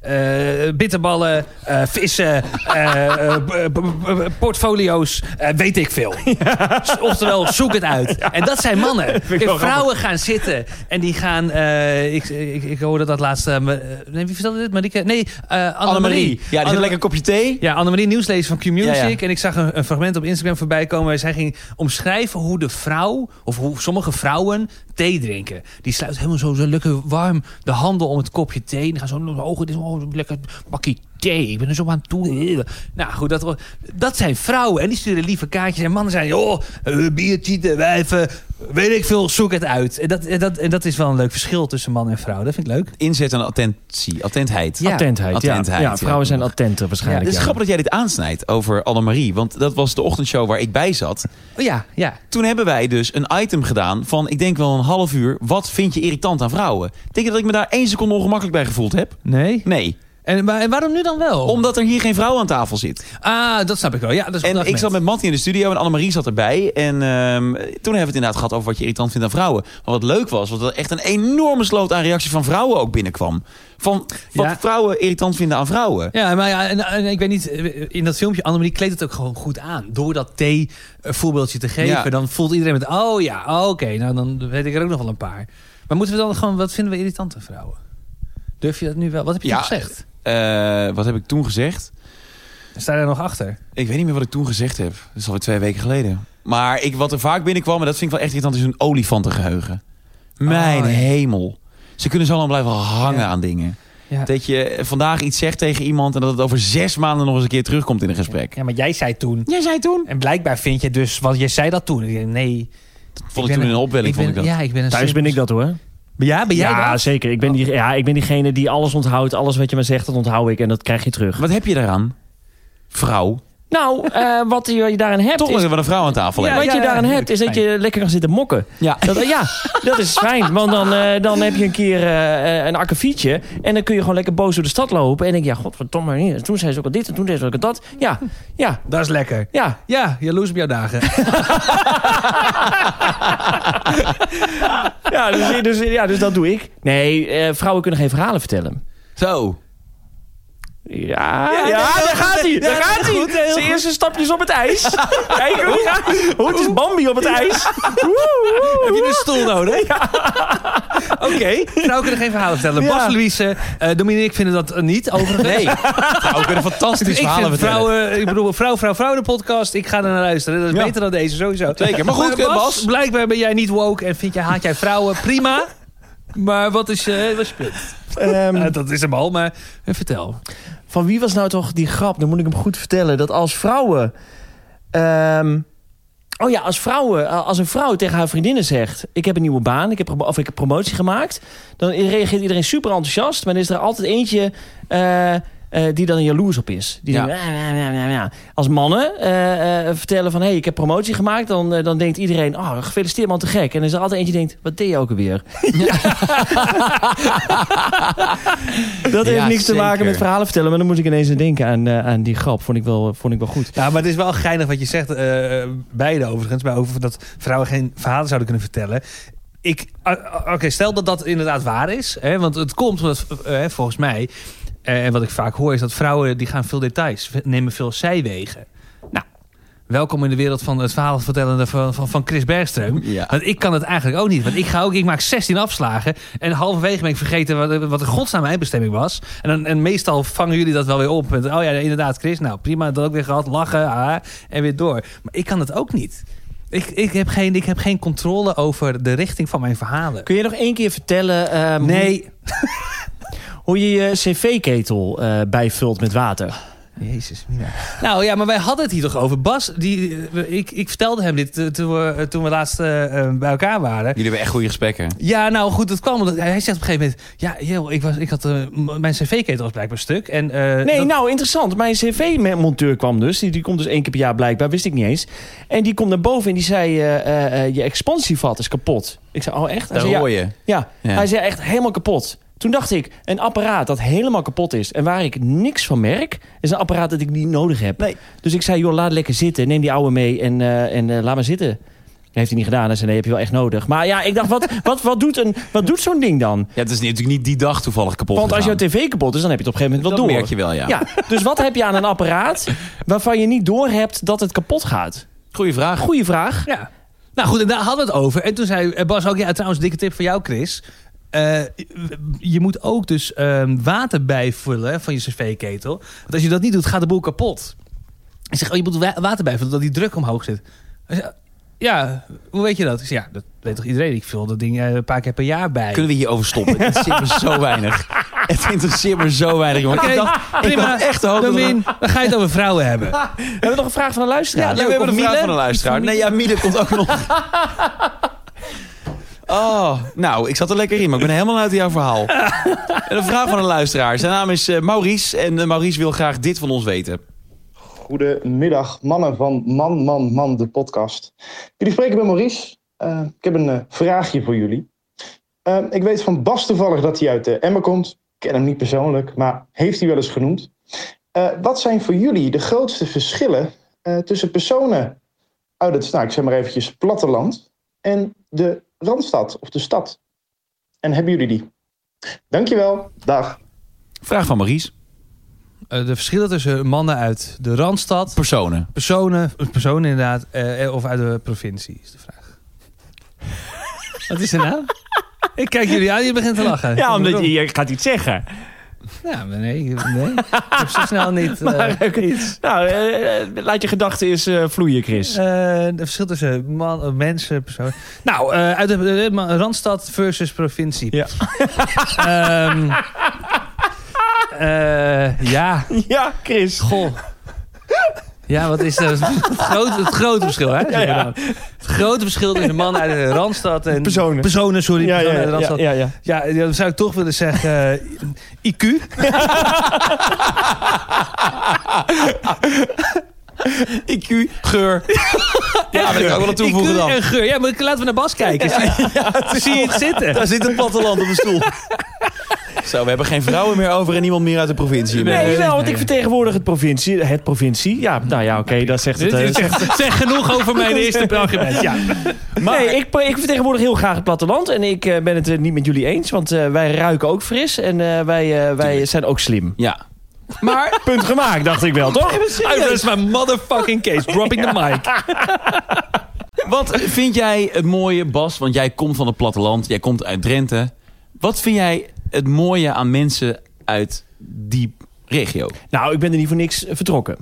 eh, eh, bitterballen, eh, vissen, eh, eh, b- b- b- portfolio's, eh, weet ik veel. Dus Oftewel, zoek het uit. En dat zijn mannen. ik wel En vrouwen gaan zitten en die gaan... eh, ik, ik, ik hoorde dat laatste... eh, nee, wie vertelde dit? Marieke? Nee, eh Annemarie. Annemarie. Ja, die zit lekker een kopje thee. Ja, Annemarie nieuwslezer van Q-Music. Ja, ja. En ik zag een, een fragment op Instagram voorbij komen... waar zij ging omschrijven hoe de vrouw... of hoe sommige vrouwen thee drinken. Die sluit helemaal zo, zo lekker warm de handen om het kopje thee. En die gaan zo naar de ogen. dit is, Oh, lekker bakkie thee. Ik ben er zo aan toe. Nou goed, dat, dat zijn vrouwen. En die sturen lieve kaartjes. En mannen zijn... oh, eh, biertieten, wijven... weet ik veel, zoek het uit. En dat, en, dat, en dat is wel een leuk verschil tussen man en vrouw. Dat vind ik leuk. Inzet en attentie, attentheid. Ja. Attentheid, ja. Attentheid, ja. Vrouwen ja. zijn attenter Het waarschijnlijk. is ja. dus grappig dat jij dit aansnijdt over Annemarie. Want dat was de ochtendshow waar ik bij zat. Oh, ja, ja. Toen hebben wij dus een item gedaan van, ik denk wel een half uur. Wat vind je irritant aan vrouwen? Denk je dat ik me daar één seconde ongemakkelijk bij gevoeld heb? Nee. Nee, En, maar- en waarom nu dan wel? omdat er hier geen vrouw aan tafel zit. Ah, dat snap ik wel. Ja, dat is En ik zat met Mattie in de studio en Annemarie zat erbij. En ehm, toen hebben we het inderdaad gehad over wat je irritant vindt aan vrouwen. Maar wat leuk was, was dat er echt een enorme sloot aan reacties van vrouwen ook binnenkwam. Van wat Ja. vrouwen irritant vinden aan vrouwen. Ja, maar ja, en, en ik weet niet, eh, in dat filmpje, Annemarie kleedt het ook gewoon goed aan. Door dat thee-voorbeeldje te geven, Ja. dan voelt iedereen met, oh ja, oké, nou dan weet ik er ook nog wel een paar. Maar moeten we dan gewoon, wat vinden we irritante vrouwen? Durf je dat nu wel? Wat heb je Ja. toen gezegd? Eh, wat heb ik toen gezegd? Sta je daar nog achter? Ik weet niet meer wat ik toen gezegd heb. Dat is alweer twee weken geleden. Maar ik, wat er vaak binnenkwam, en dat vind ik wel echt irritant, is hun olifantengeheugen. Mijn Oh, ja. hemel. Ze kunnen zo lang blijven hangen Ja. aan dingen. Ja. Dat je vandaag iets zegt tegen iemand en dat het over zes maanden nog eens een keer terugkomt in een gesprek. ja, maar jij zei toen. Jij zei toen. En blijkbaar vind je dus, want jij zei dat toen. Ik denk, nee. Vond ik toen in een opwelling, ben- vond ik dat. Ja, ik ben een Thuis ben ik dat hoor. Ja, ben jij ja, dat? zeker. Ik ben, die, ja, ik ben diegene die alles onthoudt. Alles wat je me zegt, dat onthoud ik en dat krijg je terug. Wat heb je daaraan? Vrouw. Nou, eh, wat je je daarin hebt Toch is... is er wel een vrouw aan tafel. Wat hebben. je daaraan hebt, is dat je lekker kan zitten mokken. Ja. Dat, eh, ja, dat is fijn. Want dan, eh, dan heb je een keer eh, eh, een akkefietje. En dan kun je gewoon lekker boos door de stad lopen. En denk je, ja, godverdomme. hier, Toen zei ze ook al dit en toen zei ze ook al dat. Ja, ja, Dat is lekker. ja. Ja, jaloers op jouw dagen. Ja, dus, dus, ja, dus dat doe ik. Nee, eh, vrouwen kunnen geen verhalen vertellen. Zo. Ja, ja, nee, dat- daar gaat hij. ja, Daar gaat goed, heel hij. goed. Zijn eerste stapjes op het ijs. Kijk hoe gaat- hoe het is Bambi op het ijs. Heb je een stoel nodig? Oké. Nou, kunnen geen verhalen vertellen. Ja. Bas, Louise, eh Dominique vinden dat eh, niet, overigens. Nee. Vrouwen kunnen fantastisch ik verhalen vind vertellen. vrouwen, ik bedoel, vrouw, vrouw, vrouw de podcast. Ik ga er naar luisteren. Dat is Ja. beter dan deze, sowieso. Eh, Zeker. Maar goed, Bas, Bas. blijkbaar ben jij niet woke en vind jij, haat jij vrouwen. Prima. Maar wat is, eh, wat is je punt? Ehm, Eh, dat is hem al, maar eh, vertel. Van wie was nou toch die grap? Dan moet ik hem goed vertellen. Dat als vrouwen... ehm, oh ja, als, vrouwen, a- als een vrouw tegen haar vriendinnen zegt... ik heb een nieuwe baan, ik heb, promo- of ik heb promotie gemaakt... dan reageert iedereen super enthousiast. Maar er is er altijd eentje eh, eh, die dan jaloers op is. Die Ja. denkt, "Ah, ah, ah, ah, ah." Als mannen eh, eh, vertellen van... hé, hey, ik heb promotie gemaakt, dan, eh, dan denkt iedereen... oh, gefeliciteerd man, te gek. En er is er altijd eentje die denkt... wat deed je ook alweer? Dat heeft Ja, niks te maken zeker. met verhalen vertellen. Maar dan moest ik ineens aan denken aan, eh, aan die grap. Vond ik wel, vond ik wel goed. Ja, maar het is wel geinig wat je zegt, eh, eh, beide overigens, maar over dat vrouwen geen verhalen zouden kunnen vertellen. Ik, ah, ah, Oké, stel dat dat inderdaad waar is, hè, want het komt omdat, eh, eh, volgens mij, eh, en wat ik vaak hoor, is dat vrouwen die gaan veel details, nemen veel zijwegen. Nou, welkom in de wereld van het verhaal vertellen van, van, van Chris Bergström. Ja. Want ik kan het eigenlijk ook niet. Want ik ga ook, ik maak 16 afslagen. En halverwege ben ik vergeten wat, wat in godsnaam mijn bestemming was. En, dan, en meestal vangen jullie dat wel weer op. Met, oh ja, inderdaad, Chris. Nou, prima, dat ook weer gehad. Lachen, ah, en weer door. Maar ik kan het ook niet. Ik, ik, heb geen, ik heb geen controle over de richting van mijn verhalen. Kun je nog één keer vertellen ehm, Nee. hoe je je cv-ketel eh, bijvult met water? Eh, Jezus, Mina. Nou ja, maar wij hadden het hier toch over. Bas, die, eh, ik, ik vertelde hem dit eh, toen we, toen we laatst eh, eh, bij elkaar waren. Jullie hebben echt goede gesprekken. Ja, nou goed, dat kwam omdat hij zegt op een gegeven moment... Ja, joh, ik, was, ik had, eh, m- mijn cv-ketel was blijkbaar stuk. En, eh, Nee, dat- nou interessant. Mijn cv-monteur kwam dus. Die, die komt dus één keer per jaar blijkbaar. Wist ik niet eens. En die komt naar boven en die zei... eh, eh, eh, je expansievat is kapot. Ik zei, oh echt? Hij Dat zei, ja, hoor je. Ja, Ja. hij zei echt helemaal kapot. Toen dacht ik, een apparaat dat helemaal kapot is... en waar ik niks van merk, is een apparaat dat ik niet nodig heb. Nee. Dus ik zei, joh, laat lekker zitten. Neem die oude mee en, eh, en eh, laat maar zitten. Dat heeft hij niet gedaan. Hij zei, nee, heb je wel echt nodig. Maar ja, ik dacht, wat, wat, wat doet, een- wat doet zo'n ding dan? Ja, het is natuurlijk niet die dag toevallig kapot Want als jouw gegaan. tv kapot is, dan heb je het op een gegeven moment Dat wel door. merk je wel, ja. Ja, dus wat heb je aan een apparaat waarvan je niet doorhebt dat het kapot gaat? Goeie vraag. Goeie vraag. Ja. Nou goed, en daar hadden we het over. En toen zei eh, Bas ook, ja trouwens, dikke tip voor jou Chris. Eh, je moet ook dus ehm, water bijvullen van je cv-ketel. Want als je dat niet doet, gaat de boel kapot. Ik zeg, oh, je moet wa- water bijvullen, dat die druk omhoog zit. Hij zei, Ja, hoe weet je dat? Ik zeg, ja, dat weet toch iedereen? Ik vul dat ding eh, een paar keer per jaar bij. Kunnen we hierover stoppen? Het interesseert me zo weinig. Het interesseert me zo weinig, jongen. Oké, Ik dacht, ik prima. dacht echt te hopen... dat- Eh, Domin, dan ga je het over vrouwen hebben. We hebben nog een vraag van een luisteraar. Ja, we hebben een vraag van een luisteraar. Nee, ja, Miele komt ook nog. Oh, nou, ik zat er lekker in, maar ik ben helemaal uit jouw verhaal. En een vraag van een luisteraar. Zijn naam is eh, Maurice en eh, Maurice wil graag dit van ons weten. Goedemiddag, mannen van Man, Man, Man, de podcast. Jullie spreken met Maurice. Eh, ik heb een eh, vraagje voor jullie. Eh, ik weet van Bas toevallig dat hij uit eh, Emmen komt. Ik ken hem niet persoonlijk, maar heeft hij wel eens genoemd. Eh, wat zijn voor jullie de grootste verschillen eh, tussen personen uit het, nou, ik zeg maar eventjes, platteland en de randstad of de stad? En hebben jullie die? Dankjewel, dag. Vraag van Maurice. Eh, de verschillen tussen mannen uit de Randstad... Personen. Personen, personen inderdaad, eh, of uit de provincie is de vraag. Wat is er nou? Ik kijk jullie aan, je begint te lachen. Ja, omdat je, je gaat iets zeggen. Ja, maar nee, nee. Ik heb zo snel niet... eh, Maar, nou, eh, eh, laat je gedachten eens eh, vloeien, Chris. eh, de verschil tussen man, eh, mensen, personen... Nou, eh, uit de, de- ma- Randstad versus provincie. Ja. Ehm, eh, ja. Ja, Chris. Goh. Ja, wat is dat? Het grote, het grote verschil, hè? Ja, ja. Het grote verschil tussen mannen uit de Randstad en... Personen. Personen, sorry. Ja, ja, personen uit de ja, Randstad. ja, ja. Ja, ja, dan zou ik toch willen zeggen eh, IQ. IQ, geur. Ja, dat kan ik ook wel aan toevoegen IQ dan. en geur. Ja, maar laten we naar Bas kijken. Zie, zie je het zitten? Daar zit het platteland op de stoel. Zo, we hebben geen vrouwen meer over en niemand meer uit de provincie. Nee, meer. wel, want ik vertegenwoordig het provincie. Het provincie. Ja, nou ja, oké, dat zegt het. eh, Zeg genoeg over mijn eerste argument. Ja. Nee, ik, eh, ik vertegenwoordig heel graag het platteland. En ik eh, ben het eh, niet met jullie eens. Want eh, wij ruiken ook fris. En eh, wij, eh, wij zijn ook slim. Ja. Maar... Punt gemaakt, dacht ik wel, toch? Nou, dus- Uit, dat is mijn motherfucking case. Dropping the mic. Wat vind jij het mooie, Bas? Want jij komt van het platteland, jij komt uit Drenthe. Wat vind jij het mooie aan mensen uit die regio? Nou, ik ben er niet voor niks eh, vertrokken.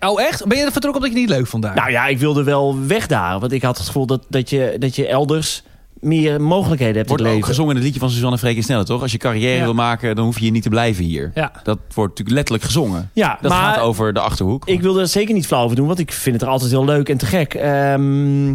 Oh, echt? Ben je er vertrokken omdat je het niet leuk vond daar? Nou ja, ik wilde wel weg daar. Want ik had het gevoel dat, dat, je, dat je elders meer mogelijkheden hebt in Wordt het ook leven. gezongen in het liedje van Suzanne Freek en Snelle, toch? Als je carrière Ja. wil maken, dan hoef je hier niet te blijven hier. Ja. Dat wordt natuurlijk letterlijk gezongen. Ja, Dat maar gaat over de Achterhoek. ik wilde er zeker niet flauw over doen. Want ik vind het er altijd heel leuk en te gek. Ehm,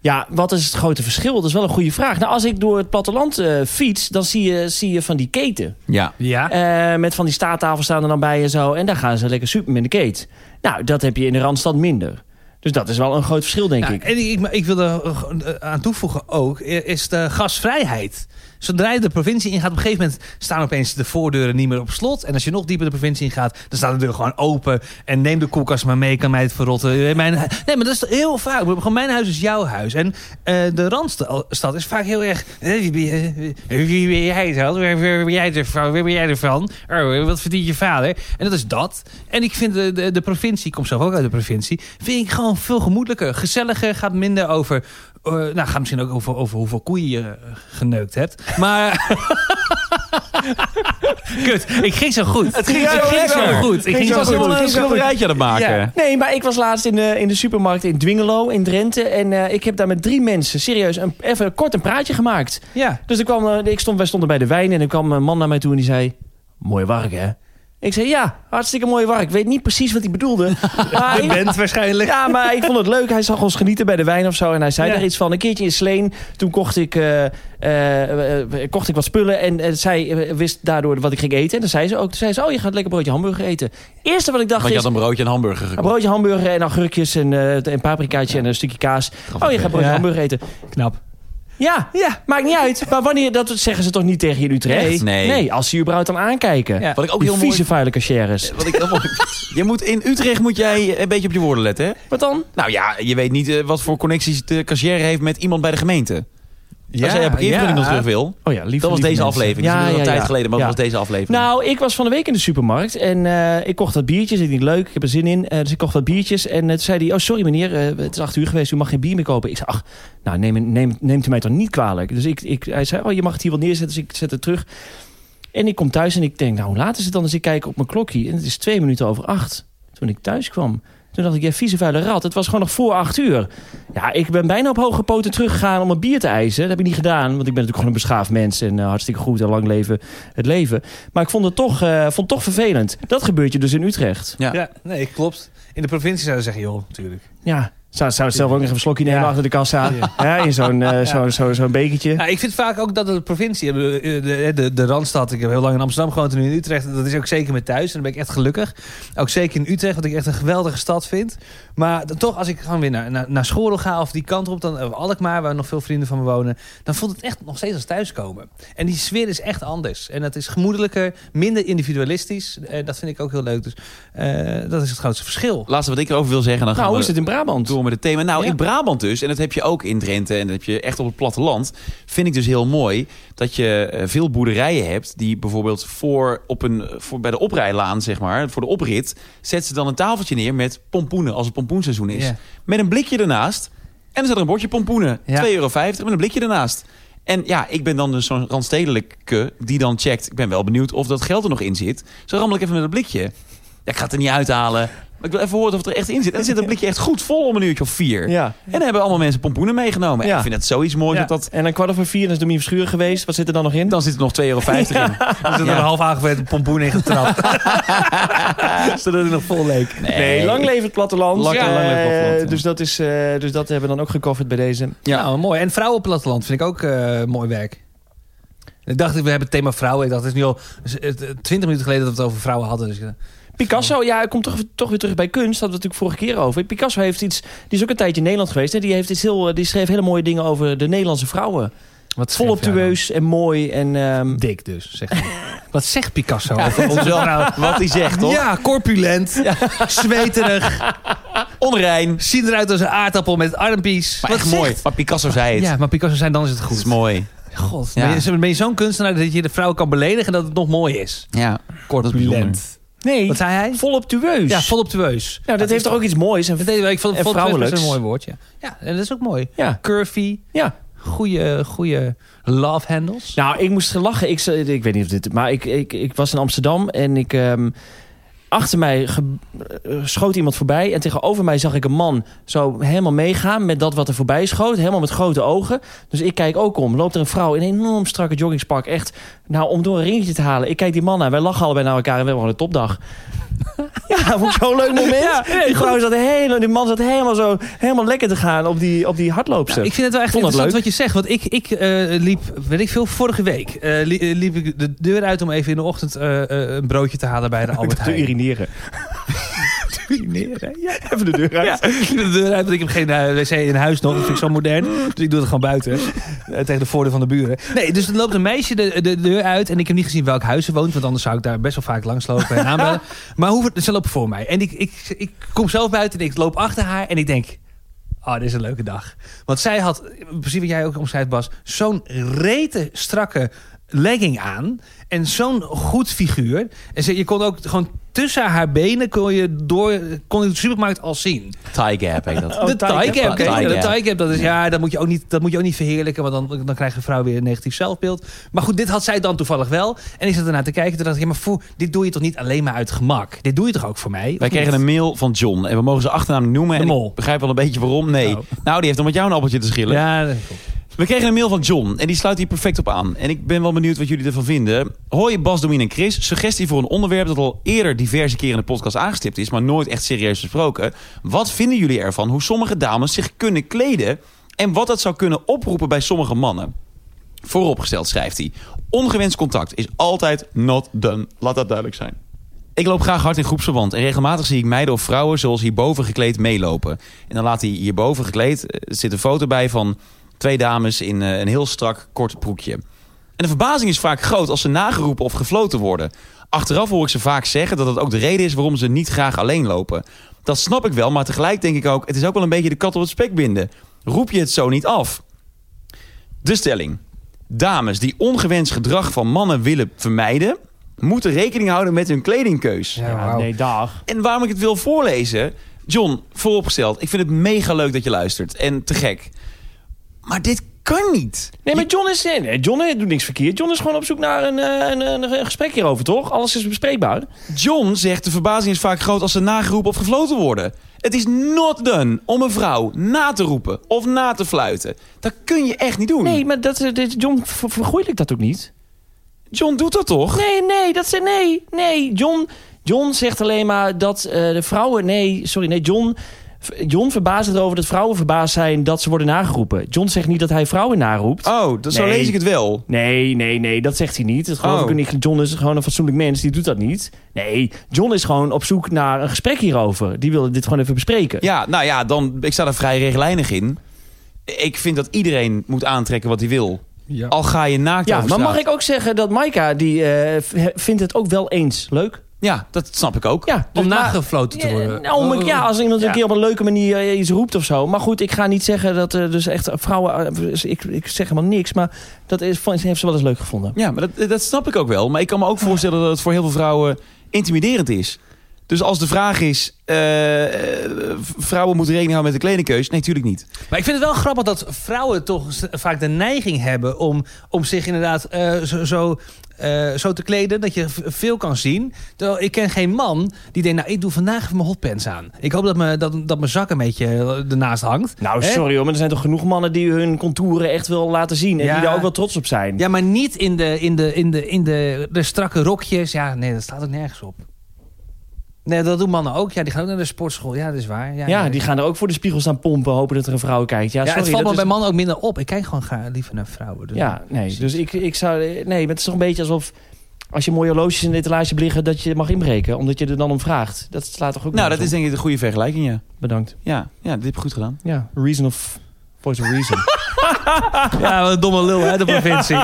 ja, wat is het grote verschil? Dat is wel een goede vraag. Nou, als ik door het platteland eh, fiets, dan zie je, zie je van die keten. Ja. ja. Eh, met van die staattafels staan er dan bij en zo. En daar gaan ze lekker super met de keet. Nou, dat heb je in de Randstad minder. Dus dat is wel een groot verschil, denk Ja, ik. Nou, En ik, maar ik wil er eh, gewoon, eh, aan toevoegen ook, eh, is de gasvrijheid. Zodra je de provincie ingaat, op een gegeven moment staan opeens de voordeuren niet meer op slot. En als je nog dieper de provincie ingaat, dan staat de deur gewoon open. En neem de koelkast maar mee, kan mij het verrotten. Eh, Mijn, hu- nee, maar dat is heel vaak. Ik bedoel, Gewoon mijn huis is jouw huis. En eh, de Randstad is vaak heel erg... eh, Wie ben je- eh, wie ben jij dan? Waar waar ben jij ervan? Waar ben jij ervan? Oh, wat verdient je vader? En dat is dat. En ik vind de, de, de provincie, ik kom zelf ook uit de provincie, vind ik gewoon veel gemoedelijker. Gezelliger, gaat minder over. eh, nou, gaat misschien ook over, over hoeveel koeien je eh, geneukt hebt. Maar. Kut, ik ging zo goed. Het ging zo lekker. goed. Ik ging zo was goed. helemaal een schilderijtje aan het maken. Ja. Nee, maar ik was laatst in de, in de supermarkt in Dwingelo in Drenthe. En eh, ik heb daar met drie mensen serieus een, even kort een praatje gemaakt. Ja. Dus er kwam, eh, ik stond, wij stonden bij de wijn en er kwam een man naar mij toe en die zei... Mooi wark, hè? Ik zei, ja, hartstikke mooi wark. Ik weet niet precies wat hij bedoelde. Maar ik- bent waarschijnlijk. ja, maar ik vond het leuk. Hij zag ons genieten bij de wijn of zo. En hij zei Ja. daar iets van. Een keertje in Sleen. Toen kocht ik, eh, eh, eh, kocht ik wat spullen. En eh, zij eh, wist daardoor wat ik ging eten. En dan zei ze ook. Toen zei ze, oh, je gaat lekker broodje hamburger eten. Eerste wat ik dacht Want je is... had een broodje en hamburger Een gekocht. broodje hamburger en augurkjes en, eh en paprikaatje en een stukje kaas. Oh, je gaat broodje Ja. hamburger eten. Knap. Ja, ja, maakt niet uit. Maar wanneer, dat zeggen ze toch niet tegen je in Utrecht? Nee. als ze je überhaupt dan aankijken. Ja. Wat ik ook Die heel mooi... vieze vuile cashiers. Wat ik heel mooi... je moet, in Utrecht moet jij een beetje op je woorden letten, hè? Wat dan? Nou ja, je weet niet eh, wat voor connecties de cashier heeft met iemand bij de gemeente. Als jij een parkeervergunning nog terug wil... Oh ja, lief. dat was deze aflevering. dat is al een tijd geleden, maar dat was deze aflevering. Nou, ik was van de week in de supermarkt en eh, ik kocht wat biertjes. Ik denk leuk, ik heb er zin in. Eh, dus ik kocht wat biertjes en eh, toen zei hij... Oh, sorry meneer, eh, het is acht uur geweest, u mag geen bier meer kopen. Ik zei, ach, nou neem, neem, neemt u mij toch niet kwalijk. Dus ik, ik, hij zei, oh, je mag het hier wel neerzetten. Dus ik zet het terug. En ik kom thuis en ik denk, nou, hoe laat is het dan? Dus ik kijk op mijn klokje en het is twee minuten over acht. Toen ik thuis kwam, toen dacht ik, ja, vieze vuile rat. Het was gewoon nog voor acht uur. Ja, ik ben bijna op hoge poten teruggegaan om een bier te eisen. Dat heb ik niet gedaan, want ik ben natuurlijk gewoon een beschaafd mens. En eh, hartstikke goed en lang leven het leven. Maar ik vond het toch, eh, vond het toch vervelend. Dat gebeurt je dus in Utrecht. Ja. Ja, nee, klopt. In de provincie zouden ze zeggen, joh, natuurlijk. Ja, zou, zou het zelf ook nog even een slokje nemen Ja. achter de kassa. Ja. in zo'n eh, zo'n zo'n zo'n bekertje. Ja, ik vind vaak ook dat de provincie, eh, de, de, de Randstad, ik heb heel lang in Amsterdam gewoond en nu in Utrecht. Dat is ook zeker mijn thuis en daar ben ik echt gelukkig. Ook zeker in Utrecht, wat ik echt een geweldige stad vind. Maar dan toch, als ik gewoon weer naar, naar, naar Schorel ga of die kant op, dan eh, Alkmaar, waar nog veel vrienden van me wonen. Dan voelt het echt nog steeds als thuiskomen. En die sfeer is echt anders. En dat is gemoedelijker, minder individualistisch. Eh, dat vind ik ook heel leuk. Dus eh, dat is het grootste verschil. Laatste wat ik erover wil zeggen, dan gaan nou, hoe we is het in Brabant? door met het thema. Nou, Ja. in Brabant dus, en dat heb je ook in Drenthe en dat heb je echt op het platteland, vind ik dus heel mooi dat je eh, veel boerderijen hebt die bijvoorbeeld voor op een, eh, voor bij de oprijlaan, zeg maar, voor de oprit, zetten ze dan een tafeltje neer met pompoenen als het pompoenseizoen is. Ja. Met een blikje ernaast en er staat er een bordje pompoenen, Ja. 2,50 euro met een blikje ernaast. En ja, ik ben dan dus zo'n randstedelijke die dan checkt. Ik ben wel benieuwd of dat geld er nog in zit. Zo rammel ik even met een blikje. Ja, ik ga het er niet uithalen. Maar ik wil even horen of het er echt in zit. En er zit een blikje echt goed vol om een uurtje of vier. Ja. En dan hebben allemaal mensen pompoenen meegenomen. En Ja. ik vind het zoiets moois. Ja. dat Dat En dan kwart over vier, dan is Domien Verschuren geweest. Wat zit er dan nog in? dan zit er nog 2,50 euro in. Er zit Ja. een half aangewerkte pompoen in getrapt. Zodat het nog vol leek. Nee, lang leven het platteland. Lang- Eh, lang leven het platteland, ja. Dus, dat is, eh, dus dat hebben we dan ook gecoverd bij deze. Ja. Ja, nou, mooi. En vrouwen op het platteland vind ik ook eh, mooi werk. Ik dacht, we hebben het thema vrouwen. Ik dacht, het is nu al eh, 20 minuten geleden dat we het over vrouwen hadden. Dus ik dacht, Picasso, ja, hij komt toch, toch weer terug bij kunst. Dat hadden we het natuurlijk vorige keer over. Picasso heeft iets, die is ook een tijdje in Nederland geweest. Hè? Die, heeft iets heel, eh, die schreef hele mooie dingen over de Nederlandse vrouwen. Wat schreef jij Voluptueus en mooi. En, ehm, dan? Dik dus, zegt hij. Wat zegt Picasso? Dat is wel wat hij zegt, toch? Ja, corpulent, zweterig, Onrein. ziet eruit als een aardappel met armpies. Maar Wat echt mooi. zegt- Maar Picasso zei het. Ja, maar Picasso zijn dan is het Dat is goed. mooi. God, Ja. ben je, ben je zo'n kunstenaar dat je de vrouw kan beledigen en dat het nog mooi is? Ja. Corpulent. nee, Wat zei hij? voluptueus. Ja, voluptueus. nou, dat heeft toch ook iets moois. En, Dat deed, ik vond En voluptueus vrouwelijks. is een mooi woordje. Ja, en dat is ook mooi. ja, Curvy, ja. goede, goede love handles. Nou, ik moest lachen. Ik, ze- ik weet niet of dit... Maar ik, ik, ik was in Amsterdam en ik... ehm, achter mij ge- eh, schoot iemand voorbij. En tegenover mij zag ik een man zo helemaal meegaan met dat wat er voorbij schoot. Helemaal met grote ogen. Dus ik kijk ook om. Loopt er een vrouw in een enorm strakke joggingspak. Echt, nou, om door een ringetje te halen. Ik kijk die man aan. Wij lachen allebei naar elkaar en we hebben gewoon een topdag. Ja, vond ik zo'n leuk moment. die, vrouw zat helemaal, die man zat helemaal zo helemaal lekker te gaan op die, op die hardloopster. ik vind het wel echt Vond dat interessant leuk. wat je zegt. Want ik, ik eh, liep, weet ik veel, vorige week eh, li- eh, liep ik de deur uit om even in de ochtend eh, eh, een broodje te halen bij de Albert te Heijn. urineren. urineren? Ja. Even de deur uit. Ja, ik liep de deur uit, want ik heb geen eh, wc in huis nog. Dat vind ik zo modern. Dus ik doe het gewoon buiten. eh, tegen de voordeur van de buren. Nee, dus dan loopt een meisje de, de deur uit. En ik heb niet gezien welk huis ze woont. Want anders zou ik daar best wel vaak langslopen en aanbellen. Maar hoe, ze loopt voor mij. En ik, ik, ik kom zelf buiten en ik loop achter haar. En ik denk, Ah, dit is een leuke dag. Want zij had, precies wat jij ook omschrijft Bas... zo'n rete strakke legging aan. En zo'n goed figuur. En ze, je kon ook gewoon tussen haar benen... kon je, door, kon je de supermarkt al zien. Tie gap heet dat. Oh, de tie tie gap. gap, Tie hè? Ja, De gap. tie gap, dat is ja, dat moet je ook niet, dat moet je ook niet verheerlijken, want dan, dan krijgt een vrouw weer een negatief zelfbeeld. Maar goed, dit had zij dan toevallig wel. En ik zat ernaar te kijken, toen dacht ik, ja, maar voor, dit doe je toch niet alleen maar uit gemak? Dit doe je toch ook voor mij? Wij Of kregen niet? een mail van John. En we mogen zijn achternaam noemen. en ik mol. begrijp wel een beetje waarom. Nee. Oh. Nou, die heeft dan met jou een appeltje te schillen. Ja, dat- We kregen een mail van John en die sluit hier perfect op aan. En ik ben wel benieuwd wat jullie ervan vinden. Hoi Bas, Domien en Chris. Suggestie voor een onderwerp dat al eerder diverse keren in de podcast aangestipt is... maar nooit echt serieus besproken. Wat vinden jullie ervan hoe sommige dames zich kunnen kleden... en wat dat zou kunnen oproepen bij sommige mannen? Vooropgesteld schrijft hij. Ongewenst contact is altijd not done. Laat dat duidelijk zijn. Ik loop graag hard in groepsverband en regelmatig zie ik meiden of vrouwen zoals hierboven gekleed meelopen. En dan laat hij hierboven gekleed, eh, zit een foto bij van twee dames in eh, een heel strak kort broekje. En de verbazing is vaak groot als ze nageroepen of gefloten worden. Achteraf hoor ik ze vaak zeggen dat dat ook de reden is waarom ze niet graag alleen lopen. Dat snap ik wel, maar tegelijk denk ik ook, het is ook wel een beetje de kat op het spek binden. Roep je het zo niet af? De stelling. Dames die ongewenst gedrag van mannen willen vermijden, moeten rekening houden met hun kledingkeus. ja, Ja, wauw. nee, dag. En waarom ik het wil voorlezen... John, vooropgesteld, ik vind het mega leuk dat je luistert. En te gek. Maar dit kan niet. Nee, maar John is... nee, Nee, John eh, doet niks verkeerd. John is gewoon op zoek naar een, eh, een, een, een gesprek hierover, toch? Alles is bespreekbaar. John zegt, de verbazing is vaak groot als ze nageroepen of gefloten worden. Het is not done om een vrouw na te roepen of na te fluiten. Dat kun je echt niet doen. Nee, maar dat, eh, dit, John ver- vergoeilijkt dat ook niet. John doet dat toch? Nee, nee, dat zijn... Nee, nee. John, John zegt alleen maar dat eh, de vrouwen... Nee, sorry, nee, John... John verbaast het erover dat vrouwen verbaasd zijn dat ze worden nageroepen. John zegt niet dat hij vrouwen naroept. Oh, dat, zo Nee. lees ik het wel. Nee, nee, nee, dat zegt hij niet. Dat geloof Oh. ik ook niet. John is gewoon een fatsoenlijk mens, die doet dat niet. Nee, John is gewoon op zoek naar een gesprek hierover. Die wilde dit gewoon even bespreken. Ja, nou ja, dan, ik sta er vrij rechtlijnig in. Ik vind dat iedereen moet aantrekken wat hij wil. Ja. Al ga je naakt Ja, over maar straat. mag ik ook zeggen dat Maika, die eh, v- vindt het ook wel eens leuk? Ja, dat snap ik ook. Ja, om maar- nagefloten te worden. Dus Oh, Ja, nou, om- ja, als iemand Ja. een keer op een leuke manier eh, iets roept of zo. Maar goed, ik ga niet zeggen dat eh, dus echt vrouwen... eh, ik, ik zeg helemaal niks, maar dat is, heeft ze wel eens leuk gevonden. Ja, maar dat, dat snap ik ook wel. Maar ik kan me ook voorstellen dat het voor heel veel vrouwen intimiderend is. Dus als de vraag is, eh, eh, vrouwen moeten rekening houden met de kledingkeus? Nee, natuurlijk niet. Maar ik vind het wel grappig dat vrouwen toch s- vaak de neiging hebben om, om zich inderdaad eh, zo, zo, eh, zo te kleden dat je v- veel kan zien. Terwijl ik ken geen man die denkt, nou ik doe vandaag even mijn hotpants aan. Ik hoop dat, me, dat, dat mijn zak een beetje eh, ernaast hangt. Nou, Hè? sorry hoor, maar er zijn toch genoeg mannen die hun contouren echt wil laten zien. En Ja. die daar ook wel trots op zijn. Ja, maar niet in de, in de, in de, in de, de strakke rokjes. Ja, nee, dat staat ook nergens op. Nee, dat doen mannen ook. Ja, die gaan ook naar de sportschool. Ja, dat is waar. Ja, Ja, nee. die gaan er ook voor de spiegel staan pompen, hopen dat er een vrouw kijkt. Ja, ja, sorry, het valt dat me bij is- mannen ook minder op. Ik kijk gewoon graag liever naar vrouwen. Dus- Ja, nee. Dus ik, ik zou. Nee, maar het is toch een beetje alsof. als je mooie horloges in het etalage hebt liggen, dat je mag inbreken. Omdat je er dan om vraagt. Dat slaat toch ook Nou, dat nergens is denk ik de goede vergelijking, ja. op? Bedankt. Ja, ja dit heb je goed gedaan. Ja, reason of... Voice of reason. Ja, wat een domme lul, hè, de provincie.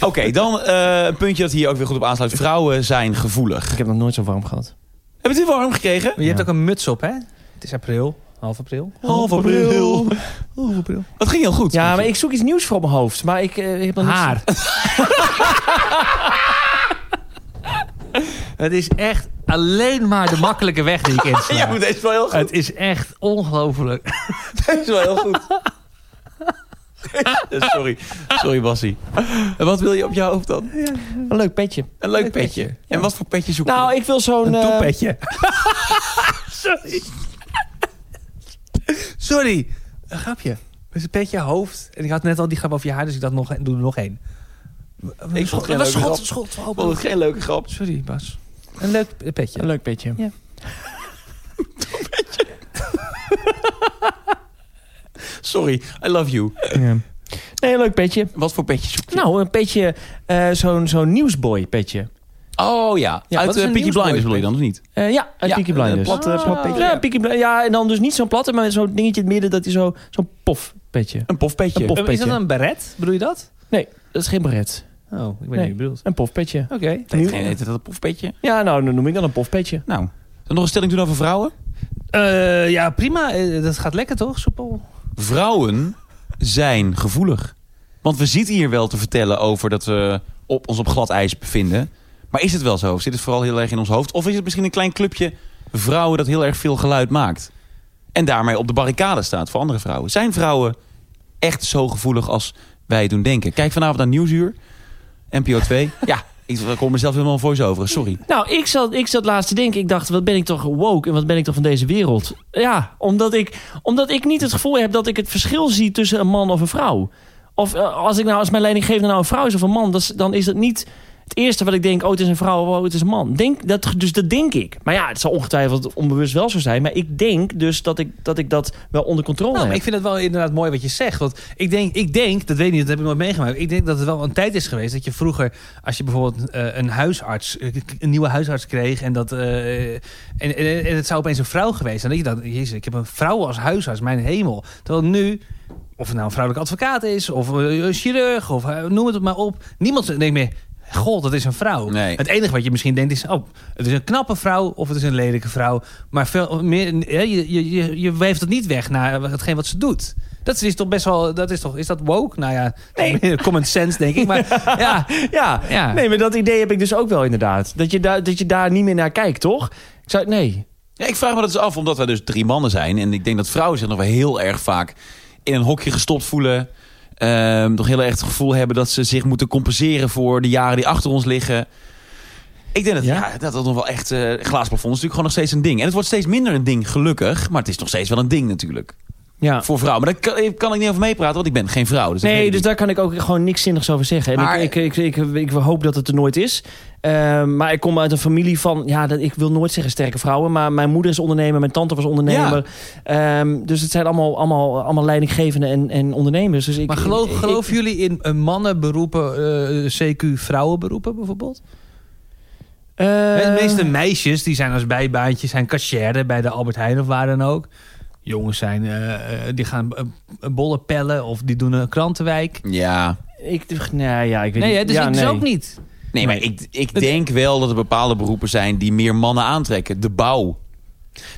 Oké, dan eh, een puntje dat hier ook weer goed op aansluit. Vrouwen zijn gevoelig. ik heb nog nooit zo warm gehad. Hebben we dit warm gekregen? Maar je hebt ook een muts op, hè? Het is april, half april. Half april. Half april. Dat ging heel goed. Ja, maar ik zoek iets nieuws voor op mijn hoofd. Maar ik eh, heb nog niks- Haar. Het is echt alleen maar de makkelijke weg die ik insla. Ja, maar deze is wel heel goed. Het is echt ongelooflijk. Deze is wel heel goed. Sorry. Sorry, Bassie. En wat wil je op jouw hoofd dan? Een leuk petje. Een leuk petje. En wat voor petje zoek je? Nou, ik wil zo'n... eh, Toepetje. Sorry. Sorry. Een grapje. Met een petje, hoofd. En ik had net al die grap over je haar, dus ik dacht, nog, doe er nog één. Ik vond het geen leuke grap. schot. Ik vond het geen leuke grap. Sorry, Bas. Een leuk Een petje. leuk petje. Sorry, I love you. Nee, een leuk petje. Wat voor petje zoek je? Nou, een petje, eh, zo'n zo'n newsboy petje. Oh ja, Ja, uit wat is eh, een Peaky nieuwsboy? Blinders bedoel je dan, of niet? Eh, ja, uit Ja, Peaky een, Blinders. eh, plat, eh, plat petje, Ja, ja. Peaky Blinders. Ja, en dan dus niet zo'n platte, maar zo'n dingetje in het midden. Dat is zo- zo'n pof petje. Een pofpetje. Een pof- Is dat petje. een beret? Bedoel je dat? Nee, dat is geen beret. Oh, Nee. ik weet niet wie je bedoelt. Een pofpetje. Oké. Nee, nee, heet dat een pofpetje? Ja, nou, dan noem ik dan een pofpetje. Nou, dan nog een stelling doen over vrouwen. Eh, ja, prima. Eh, dat gaat lekker toch? Soepel. Vrouwen zijn gevoelig. Want we zitten hier wel te vertellen over dat we op, ons op glad ijs bevinden. Maar is het wel zo? Of zit het vooral heel erg in ons hoofd? Of is het misschien een klein clubje vrouwen dat heel erg veel geluid maakt? En daarmee op de barricade staat voor andere vrouwen. Zijn vrouwen echt zo gevoelig als wij doen denken? Kijk vanavond naar Nieuwsuur, NPO 2. ja, ik kom mezelf helemaal voor je over. Sorry. Nou, ik zat, ik zat laatst te denken. Ik dacht, wat ben ik toch woke en wat ben ik toch van deze wereld? Ja, omdat ik, omdat ik niet het gevoel heb dat ik het verschil zie tussen een man of een vrouw. Of eh, als, ik nou, als mijn leidinggevende nou een vrouw is of een man, dat is- dan is dat niet het eerste wat ik denk. Oh, het is een vrouw, oh, het is een man. Denk, dat, dus dat denk ik. Maar ja, het zal ongetwijfeld onbewust wel zo zijn. Maar ik denk dus dat ik dat, ik dat wel onder controle Nou, maar heb. ik vind het wel inderdaad mooi wat je zegt. Want ik denk, ik denk, dat weet ik niet, dat heb ik nooit meegemaakt. Ik denk dat het wel een tijd is geweest dat je vroeger, als je bijvoorbeeld eh, een huisarts, eh, een nieuwe huisarts kreeg en dat. eh, en, en, en het zou opeens een vrouw geweest zijn. Dat je dacht, jezus, ik heb een vrouw als huisarts, mijn hemel. Terwijl nu. Of het nou een vrouwelijke advocaat is, of eh, een chirurg, of eh, noem het maar op. Niemand denkt meer, god, dat is een vrouw. Nee. Het enige wat je misschien denkt is, oh, het is een knappe vrouw of het is een lelijke vrouw. Maar veel meer, hè, je, je, je, je weeft het niet weg naar hetgeen wat ze doet. Dat is toch best wel, dat is toch, is dat woke? Nou ja, common sense denk ik. Maar ja, Ja, Ja. nee, maar dat idee heb ik dus ook wel inderdaad. Dat je, daar dat je daar niet meer naar kijkt, toch? Ik zou, nee. Ja, ik vraag me dat eens af, omdat wij dus drie mannen zijn. En ik denk dat vrouwen zich nog wel heel erg vaak in een hokje gestopt voelen. Ehm nog heel erg het gevoel hebben dat ze zich moeten compenseren voor de jaren die achter ons liggen. Ik denk dat ja? Ja? dat, dat nog wel echt... eh glazen plafond is natuurlijk gewoon nog steeds een ding. En het wordt steeds minder een ding, gelukkig. Maar het is nog steeds wel een ding natuurlijk. Ja. Voor vrouwen. Maar daar kan, kan ik niet over meepraten, want ik ben geen vrouw. Dus dat weet Nee, ik dus niet. daar kan ik ook gewoon niks zinnigs over zeggen. En Maar- ik, ik, ik, ik, ik hoop dat het er nooit is. Ehm, maar ik kom uit een familie van... Ja, dat, ik wil nooit zeggen sterke vrouwen. Maar mijn moeder is ondernemer, mijn tante was ondernemer. Ehm, dus het zijn allemaal, allemaal, allemaal leidinggevenden en, en ondernemers. Dus ik, maar geloof, ik- ik- geloven jullie in eh, mannenberoepen, eh, CQ vrouwenberoepen bijvoorbeeld? Eh, de meeste meisjes die zijn als bijbaantje, zijn cachère bij de Albert Heijn of waar dan ook. Jongens zijn, eh, eh, die gaan eh, bollen pellen of die doen een krantenwijk. Ja. Ik, nee, ja, ik weet Nee, niet. hè, dus ja, ik dus nee. ook niet. Nee, maar ik, ik denk wel dat er bepaalde beroepen zijn die meer mannen aantrekken. De bouw,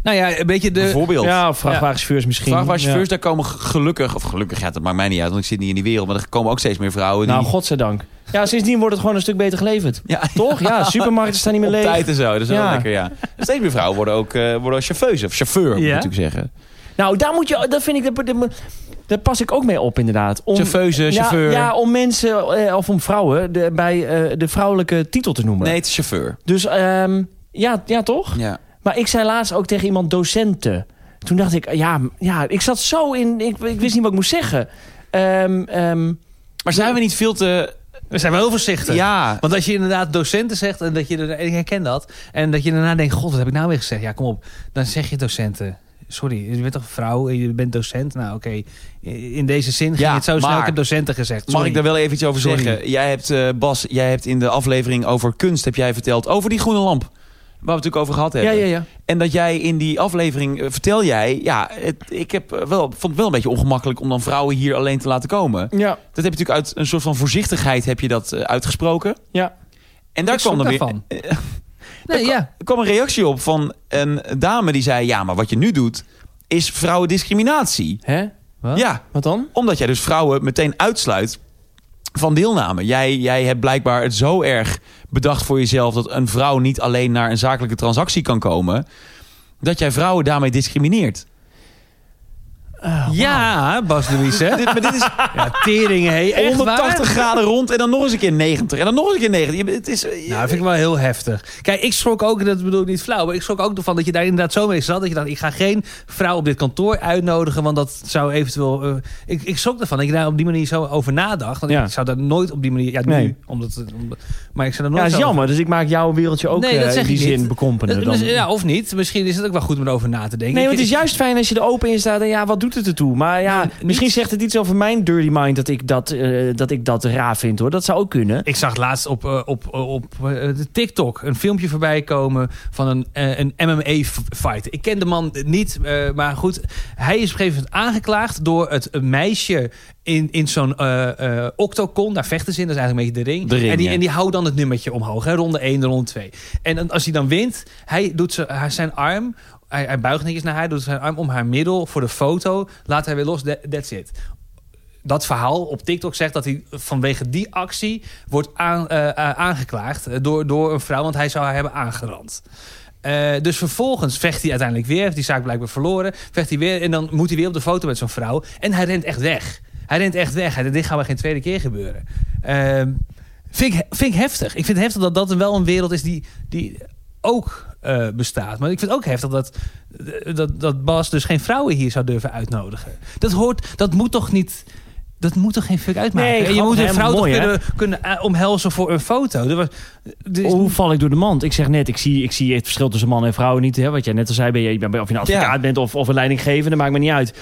Nou ja, een beetje de... bijvoorbeeld. Ja, vrachtwagenchauffeurs misschien. Vrachtwagenchauffeurs, Ja. daar komen ge- gelukkig... Of gelukkig, ja, dat maakt mij niet uit, want ik zit niet in die wereld. Maar er komen ook steeds meer vrouwen die... Nou, godzijdank. Ja, sindsdien wordt het gewoon een stuk beter geleverd. ja, Toch? Ja, supermarkten staan niet meer op leeg. tijd en zo. Dat is wel Ja. lekker, ja. Steeds meer vrouwen worden ook eh worden chauffeurs. Of chauffeur, moet ik Ja. natuurlijk zeggen. Nou, daar moet je, dat vind ik, daar- daar, daar pas ik ook mee op inderdaad. Om, Chauffeuse, ja, chauffeur. Ja, om mensen, eh, of om vrouwen, de, bij eh, de vrouwelijke titel te noemen. Nee, het is chauffeur. Dus ehm, ja, ja, toch? Ja. Maar ik zei laatst ook tegen iemand docenten. Toen dacht ik, ja, ja ik zat zo in, ik, ik wist niet wat ik moest zeggen. Ehm, ehm, Maar zijn we niet veel te... We zijn wel heel voorzichtig. Ja, Want als je inderdaad docenten zegt en dat je er, en ik herken dat, en dat je daarna denkt, god, wat heb ik nou weer gezegd? Ja, kom op. Dan zeg je docenten. sorry, je bent toch vrouw en je bent docent? Nou, oké. In deze zin ging Ja, het zo snel. maar- Ik heb docenten gezegd. Mag sorry. ik daar wel even iets over Sorry. zeggen? Jij hebt, eh, Bas, jij hebt in de aflevering over kunst heb jij verteld over die groene lamp. Waar we het natuurlijk over gehad Ja, hebben. ja, ja. En dat jij in die aflevering, eh, vertel jij... Ja, het- ik heb eh, wel, vond het wel een beetje ongemakkelijk om dan vrouwen hier alleen te laten komen. Ja, Dat heb je natuurlijk uit een soort van voorzichtigheid heb je dat eh, uitgesproken. ja. En daar Ik kwam, schrok dan weer, daarvan. eh, Nee, ja. er kwam een reactie op van een dame die zei... Ja, maar wat je nu doet is vrouwendiscriminatie. Hè? Huh? Ja, Wat dan? omdat jij dus vrouwen meteen uitsluit van deelname. Jij, jij hebt blijkbaar het zo erg bedacht voor jezelf... dat een vrouw niet alleen naar een zakelijke transactie kan komen... dat jij vrouwen daarmee discrimineert. ja, Bas Louise. hè? Dit, maar dit is ja, tering, hé. Echt waar? 180 graden rond en dan nog eens een keer 90. En dan nog eens een keer 90. Je bent- Het is, je- Nou, dat vind ik wel heel heftig. Kijk, ik schrok ook, dat bedoel ik niet flauw, maar ik schrok ook ervan dat je daar inderdaad zo mee zat. Dat je dacht, ik ga geen vrouw op dit kantoor uitnodigen, want dat zou eventueel... eh, ik, ik schrok ervan dat je daar op die manier zo over nadacht. Want Ja. ik zou daar nooit op die manier... Ja, nu, Nee. omdat, omdat- Maar ik zou daar Ja, nooit dat is zo- jammer. Dus ik maak jouw wereldje ook Nee, eh, dat zeg in die ik niet. zin bekompener. Eh, Dan... dus- Ja, of niet. Misschien is het ook wel goed om erover na te denken. Nee, Ik- want het is juist fijn als je er open in staat en ja, wat doet het ertoe? Maar ja, Nou, niet- misschien zegt het iets over mijn dirty mind dat ik dat, eh, dat ik dat raar vind hoor. Dat zou ook kunnen. Ik zag laatst op, eh, op, eh, op eh, de TikTok een filmpje voorbij komen van een, eh, een MMA-fighter. Ik ken de man niet, eh, maar goed. Hij is op een gegeven moment aangeklaagd door het meisje in, in zo'n eh, eh, octocon. Daar vechten ze in, dat is eigenlijk een beetje de ring. De ring, en, die, ja. en die houdt dan het nummertje omhoog, hè, ronde 1, ronde 2. En dan- als hij dan wint, hij doet ze- hij- zijn arm... Hij, hij buigt netjes naar haar, doet zijn arm om haar middel voor de foto. Laat hij weer los, that- that's it dat verhaal op TikTok zegt dat hij vanwege die actie wordt aan, eh, eh, aangeklaagd eh, door, door een vrouw, want hij zou haar hebben aangerand. Eh, dus vervolgens vecht hij uiteindelijk weer, heeft die zaak blijkbaar verloren, vecht hij weer en dan moet hij weer op de foto met zo'n vrouw en hij rent echt weg. Hij rent echt weg. Hij denkt, dit gaat maar geen tweede keer gebeuren. Ehm, vind, ik, vind ik heftig. Ik vind het heftig dat dat wel een wereld is die, die ook eh, bestaat. Maar ik vind het ook heftig dat, dat, dat Bas dus geen vrouwen hier zou durven uitnodigen. Dat hoort, dat moet toch niet... Dat moet toch geen fuck uitmaken? Nee, En je grappig, moet een hè? vrouw Mooi, toch hè? kunnen, kunnen eh, omhelzen voor een foto. Er was, er is- Hoe val ik door de mand? Ik zeg net, ik zie, ik zie het verschil tussen man en vrouw niet. Hè? Wat jij net al zei, ben je, ben- of je een advocaat Ja. bent of, of een leidinggevende, maakt me niet uit.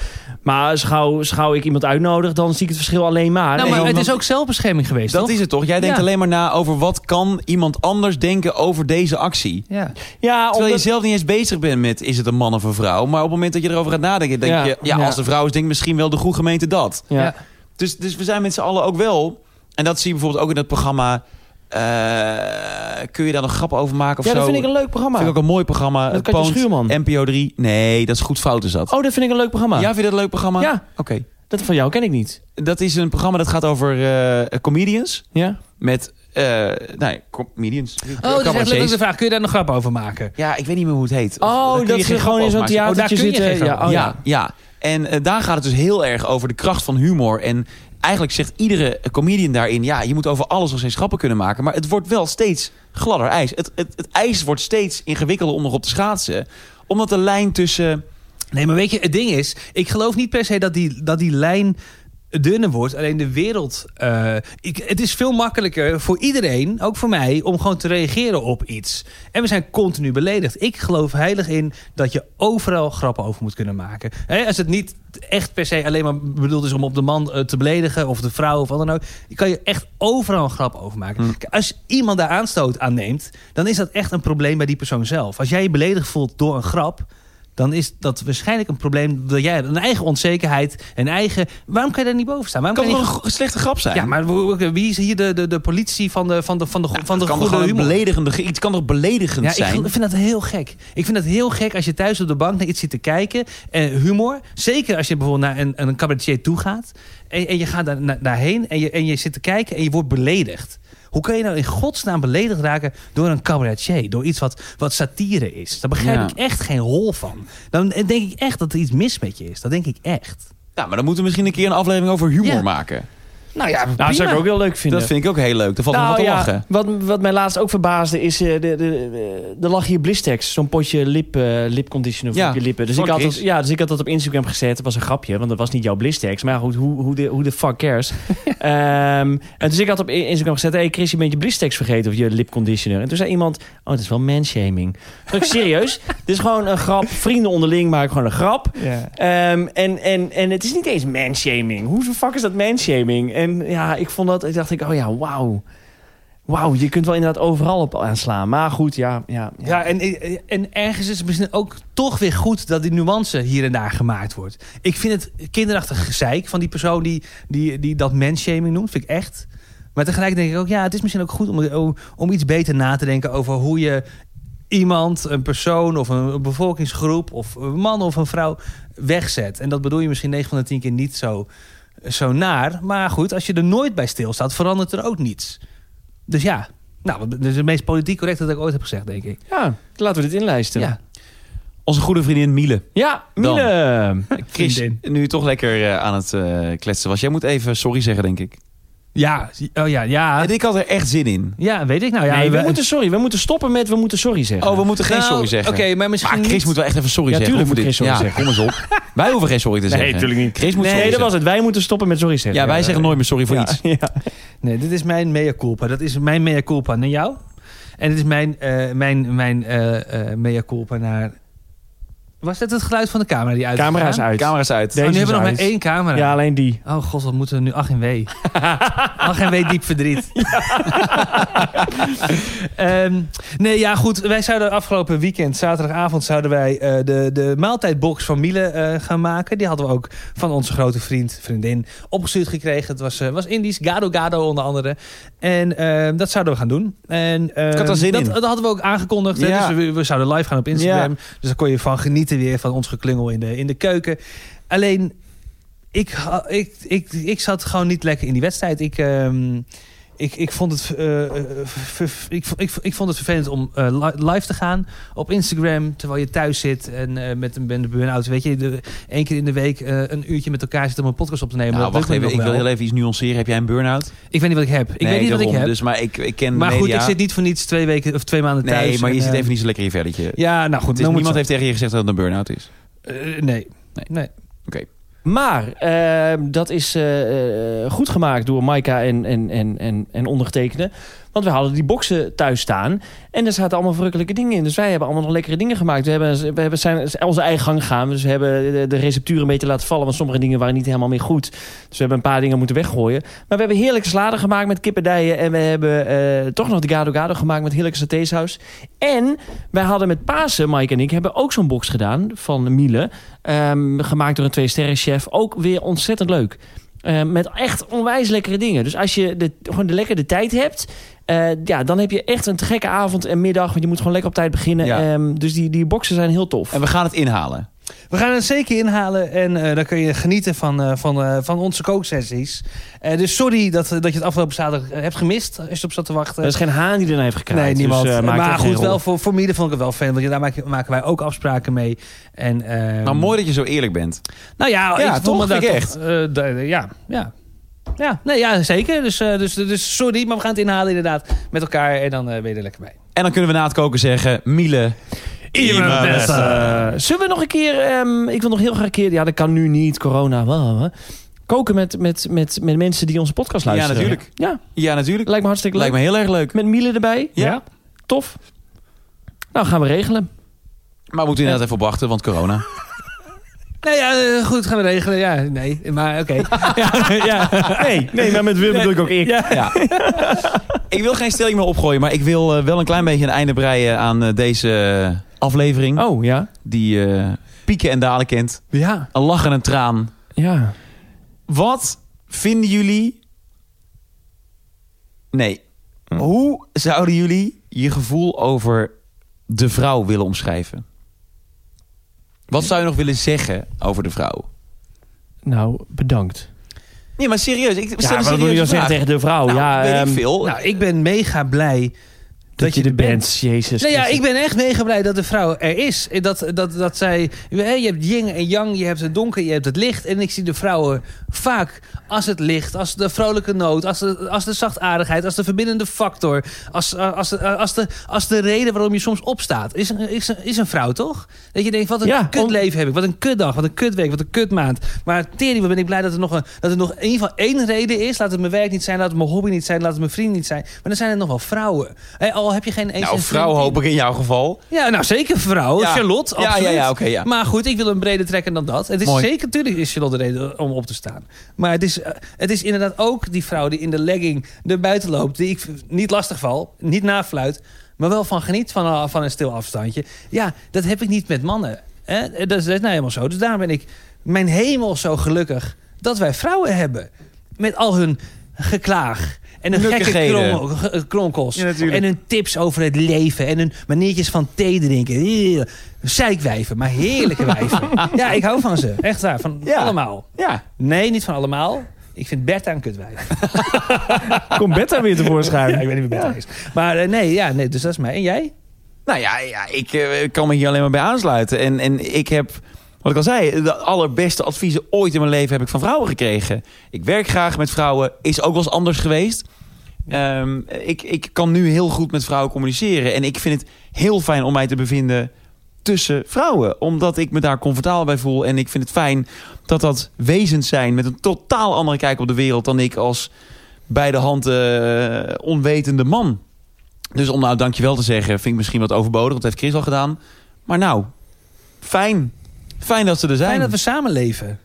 Maar schouw, schouw ik iemand uitnodig, dan zie ik het verschil alleen maar. nou, En maar dan- het is ook zelfbescherming geweest, Dus dat toch? is het toch? Jij denkt Ja. alleen maar na over wat kan iemand anders denken over deze actie. Ja. Ja, Terwijl je omdat... zelf niet eens bezig bent met is het een man of een vrouw. Maar op het moment dat je erover gaat nadenken, denk Ja. je... Ja, Ja. als de vrouw is, denk ik misschien wel de goede gemeente dat. Ja. Ja. Dus, dus we zijn met z'n allen ook wel... En dat zie je bijvoorbeeld ook in dat programma... eh, kun je daar nog grappen over maken of Ja, zo? dat vind ik een leuk programma. Vind ik ook een mooi programma. eh, Met Katja Poont, Schuurman. NPO 3. Nee, dat is goed fout is dat. Oh, dat vind ik een leuk programma. Ja, vind je dat een leuk programma? Ja. Oké. Dat van jou ken ik niet. Dat is een programma dat gaat over eh, comedians. Ja? Met, eh nee, comedians. Oh, dat is echt Eh, Cabaretiers. letterlijk de vraag. Kun je daar nog grap over maken? Ja, ik weet niet meer hoe het heet. Of, eh, Oh, kun je dat geen ze grap gewoon in zo'n afmaken. Oh, theatertje daar kun je zitten. geen grap ja, oh, ja, ja. En eh, daar gaat het dus heel erg over de kracht van humor. En eigenlijk zegt iedere comedian daarin... ja, je moet over alles nog eens grappen kunnen maken. Maar het wordt wel steeds gladder ijs. Het, het, het ijs wordt steeds ingewikkelder om nog op te schaatsen. Omdat de lijn tussen... Nee, maar weet je, het ding is... Ik geloof niet per se dat die, dat die lijn dunner wordt. Alleen de wereld... eh, ik, het is veel makkelijker voor iedereen, ook voor mij... om gewoon te reageren op iets. En we zijn continu beledigd. Ik geloof heilig in dat je overal grappen over moet kunnen maken. Hè, als het niet echt per se alleen maar bedoeld is om op de man eh, te beledigen... of de vrouw of wat dan ook... je kan je echt overal een grap over maken. Kijk, Als iemand daar aanstoot aan neemt... dan is dat echt een probleem bij die persoon zelf. Als jij je beledigd voelt door een grap dan is dat waarschijnlijk een probleem dat jij hebt. Een eigen onzekerheid, een eigen... Waarom kan je daar niet boven staan? Waarom kan kan toch je een niet- go- slechte grap zijn? Ja, maar w- w- wie is hier de, de, de politie van de, van de, van de, go- van de Het kan toch goede gewoon een humor? beledigende... ge- Iets kan toch beledigend Ja, ik zijn? vind- vind dat heel gek. Ik vind dat heel gek als je thuis op de bank naar iets zit te kijken. En humor, zeker als je bijvoorbeeld naar een, een cabaretier toe gaat. En, en je gaat daar, na- daarheen en je, en je zit te kijken en je wordt beledigd. Hoe kun je nou in godsnaam beledigd raken door een cabaretier? Door iets wat, wat satire is. Daar begrijp Ja. ik echt geen hol van. Dan eh, denk ik echt dat er iets mis met je is. Dat denk ik echt. Ja, maar dan moeten we misschien een keer een aflevering over humor Ja. maken. Nou ja, Nou, dat zou ik ook heel leuk vinden. Dat vind ik ook heel leuk. Daar valt nog nou, wat te ja, lachen. Wat, wat mij laatst ook verbaasde is, eh, de, de, de, er lag hier Blistex, zo'n potje lip, eh, lipconditioner voor Ja, op je lippen. Dus van ik, had dat, Chris. ja, dus ik had dat op Instagram gezet. Dat was een grapje, want dat was niet jouw Blistex. Maar ja, goed, hoe, hoe, de, hoe de fuck cares? Ehm, en dus ik had op I- Instagram gezet, hey Chris, je bent je Blistex vergeten of je lipconditioner. En toen zei iemand, oh, dat is wel manshaming. Toen dacht ik, serieus? Dit is gewoon een grap. Vrienden onderling maken gewoon een grap. Ja. Ehm, en, en, en het is niet eens manshaming. Hoe de fuck is dat manshaming? En ja, ik vond dat... Ik dacht ik, oh ja, wauw. Wauw, je kunt wel inderdaad overal op aanslaan. Maar goed, ja. ja, ja. Ja, en, en ergens is het misschien ook toch weer goed dat die nuance hier en daar gemaakt wordt. Ik vind het kinderachtig gezeik van die persoon die, die, die dat manshaming noemt, vind ik echt. Maar tegelijk denk ik ook, ja, het is misschien ook goed om, om iets beter na te denken over hoe je iemand, een persoon of een bevolkingsgroep of een man of een vrouw wegzet. En dat bedoel je misschien 9 van de 10 keer niet zo, zo naar. Maar goed, als je er nooit bij stilstaat, verandert er ook niets. Dus ja, nou, dat is het meest politiek correcte dat ik ooit heb gezegd, denk ik. laten we dit inlijsten. Ja. Ja, Onze goede vriendin Miele. Miele. Chris, Vriendin. nu je toch lekker eh, aan het eh, kletsen was. Jij moet even sorry zeggen, denk ik. Ja, oh ja, ja. En ik had er echt zin in. Ja, weet ik nou. Ja, nee, we, we- moeten sorry. We moeten stoppen met we moeten sorry zeggen. Oh, we moeten geen Nou, sorry zeggen. Oké, maar misschien Maar Chris niet. moet wel echt even sorry Ja, zeggen. tuurlijk Of moet dit- Chris sorry ja, Kom eens op. Wij hoeven geen sorry te zeggen. natuurlijk niet. Chris moet nee, sorry dat zeggen. was het. Wij moeten stoppen met sorry zeggen. Ja, wij zeggen nooit meer sorry voor iets. Ja. Nee, dit is mijn mea culpa. Dat is mijn mea culpa naar jou. En dit is mijn, eh, mijn, mijn eh eh mea culpa naar... Was dat het geluid van de camera die uit is Camera is gegaan? uit. Camera's uit. Nee. Oh, nu Deze hebben we nog is maar uit. één camera. Ja, alleen die. Oh god, wat moeten we nu? Ach en wee. Ach en wee, diep verdriet. Ehm, nee, ja goed. Wij zouden afgelopen weekend, zaterdagavond... zouden wij eh, de, de maaltijdbox van Miele eh, gaan maken. Die hadden we ook van onze grote vriend, vriendin opgestuurd gekregen. Het was, eh, was Indisch, Gado Gado onder andere. En ehm, dat zouden we gaan doen. En, ehm, had er zin dat, in. dat hadden we ook aangekondigd. hè. Ja. Dus we, we zouden live gaan op Instagram. Ja. Dus daar kon je van genieten weer, van ons geklungel in de, in de keuken. Alleen, ik, ha- ik, ik, ik zat gewoon niet lekker in die wedstrijd. Ik, ehm, ik, ik, vond, het, eh, eh, ver- ver- ik, vo- ik, vo- ik vond het vervelend om eh, li- live te gaan op Instagram terwijl je thuis zit en eh, met een ben- burn-out. Weet je, de- één keer in de week eh, een uurtje met elkaar zitten om een podcast op te nemen. Nou, dat lukt wacht me even. nog Ik wil wel. heel even iets nuanceren. Heb jij een burn-out? ik weet niet wat ik heb. Ik weet niet wat ik heb. Dus, maar ik, ik ken maar de goed, media. ik zit niet voor niets twee weken of twee maanden thuis. Nee, maar je en, zit eh, even niet zo lekker in je velletje. Het Ja, nou goed. is- dan moet niemand je- heeft tegen je gezegd dat het een burn-out is. Eh, nee. Nee. nee. Maar eh, dat is eh, eh, goed gemaakt door Maika en, en, en, en, en ondergetekende. Want we hadden die boxen thuis staan. En daar zaten allemaal verrukkelijke dingen in. Dus wij hebben allemaal nog lekkere dingen gemaakt. We hebben, we hebben zijn onze eigen gang gegaan. Dus we hebben de- de receptuur een beetje laten vallen. Want sommige dingen waren niet helemaal meer goed. Dus we hebben een paar dingen moeten weggooien. Maar we hebben heerlijke sladen gemaakt met kippendijen. En we hebben eh, toch nog de gado gado gemaakt met heerlijke satésaus. En wij hadden met Pasen, Mike en ik, hebben ook zo'n box gedaan van Miele. Ehm, gemaakt door een twee-sterren-chef. Ook weer ontzettend leuk. Ehm, met echt onwijs lekkere dingen. Dus als je de, gewoon de lekkere tijd hebt... eh, ja, dan heb je echt een te gekke avond en middag. Want je moet gewoon lekker op tijd beginnen. Ja. Ehm, dus die, die boxen zijn heel tof. En we gaan het inhalen. We gaan het zeker inhalen en eh, dan kun je genieten van, eh, van, eh, van onze kooksessies. Eh, dus sorry dat, eh, dat je het afgelopen zaterdag eh, hebt gemist als je erop zat te wachten. Er is geen haan die ernaar heeft gekraaid. eh, nee, niemand. Dus, eh, maakt maar het geen goed, rol. wel voor, voor Mieren vond ik het wel fijn, want ja, daar maken, maken wij ook afspraken mee. En, eh, Nou, Maar mooi dat je zo eerlijk bent. Nou ja, Ja, ik toch? vond me daar Vind ik toch- eh, da- da- ja, ja. Ja, nee, ja, zeker. Dus, eh, dus, dus sorry, maar we gaan het inhalen inderdaad met elkaar en dan eh, ben je er lekker bij. En dan kunnen we na het koken zeggen... Miele, Iemand beste. Eh, zullen we nog een keer... ehm, ik wil nog heel graag een keer... Ja, dat kan nu niet, corona. wel, hè. Koken met, met, met, met mensen die onze podcast Ja, luisteren. natuurlijk. Ja, Ja, natuurlijk. lijkt me hartstikke leuk. Lijkt me heel erg leuk. Met Miele erbij. Ja. Tof. Nou, gaan we regelen. Maar we moeten inderdaad even op wachten, want corona. Nou ja, eh, goed, gaan we regelen. Ja, nee, maar oké. Nee, nee maar met Wim bedoel ik ook ik. Ja. ik wil geen stelling meer opgooien, maar ik wil eh, wel een klein beetje een einde breien aan eh, deze aflevering. Oh, ja. Die eh, pieken en dalen kent. Ja. Een lach en een traan. Ja. Wat vinden jullie... Nee. Hoe zouden jullie je gevoel over de vrouw willen omschrijven? Wat zou je nog willen zeggen over de vrouw? Nou, bedankt. Nee, maar serieus. Ik nou stel een ja, wat wil je serieuze dan zeggen vraag. tegen de vrouw? Nou, ja, weet ehm, ik veel. Nou, ik ben mega blij dat je er bent. Jezus. Nou ja, Christus. ik ben echt mega blij dat de vrouw er is. Dat, dat, dat zij, hè, je hebt yin en yang, je hebt het donker, je hebt het licht. En ik zie de vrouwen vaak als het licht, als de vrolijke noot, als de, als de zachtaardigheid, als de verbindende factor. Als, als, de, als, de, als de reden waarom je soms opstaat. Is een, is een, is een vrouw, toch? Dat je denkt, wat een Ja, kutleven heb ik, wat een kutdag, wat een kutweek, wat een kutmaand. Maar tering, wat ben ik blij dat er, nog een, dat er nog in ieder geval één reden is. Laat het mijn werk niet zijn, laat het mijn hobby niet zijn, laat het mijn vriend niet zijn. Maar dan zijn er nog wel vrouwen. Hè, al heb je geen eens Nou, een vrouw vriendin. hoop ik in jouw geval. Ja, nou zeker vrouw. Ja. Charlotte, Ja, absoluut. ja, ja, oké, ja. Maar goed, ik wil een breder trekken dan dat. Het is Mooi. zeker, natuurlijk is Charlotte de reden om op te staan. Maar het is, eh, het is inderdaad ook die vrouw die in de legging er buiten loopt. Die ik v- niet lastig val, niet nafluit. Maar wel van geniet van, eh, van een stil afstandje. Ja, dat heb ik niet met mannen. Hè? Dat, is, dat is nou helemaal zo. Dus daar ben ik mijn hemel zo gelukkig dat wij vrouwen hebben. Met al hun geklaag. En hun gekke Nukkigheden. krommel- ge- kronkels. Ja, natuurlijk. en hun tips over het leven. En hun maniertjes van thee drinken. Eeuw. Zeikwijven, maar heerlijke wijven. ja, ik hou van ze. Echt waar. Van Ja. allemaal. Ja. Nee, niet van allemaal. Ik vind Bertha een kutwijf. Komt Betta weer tevoorschijn. Ja, ik weet niet wie Bertha is. Maar eh, nee, ja, nee, dus dat is mij. En jij? Nou ja, ja ik eh, kan me hier alleen maar bij aansluiten. En, en ik heb, wat ik al zei, de allerbeste adviezen ooit in mijn leven heb ik van vrouwen gekregen. Ik werk graag met vrouwen, is ook wel eens anders geweest. Ehm, ik, ik kan nu heel goed met vrouwen communiceren. En ik vind het heel fijn om mij te bevinden tussen vrouwen. Omdat ik me daar comfortabel bij voel. En ik vind het fijn dat dat wezens zijn met een totaal andere kijk op de wereld dan ik als bij de hand eh, onwetende man. Dus om nou dankjewel te zeggen, vind ik misschien wat overbodig. Dat heeft Chris al gedaan. Maar nou, fijn. Fijn dat ze er zijn. Fijn dat we samenleven.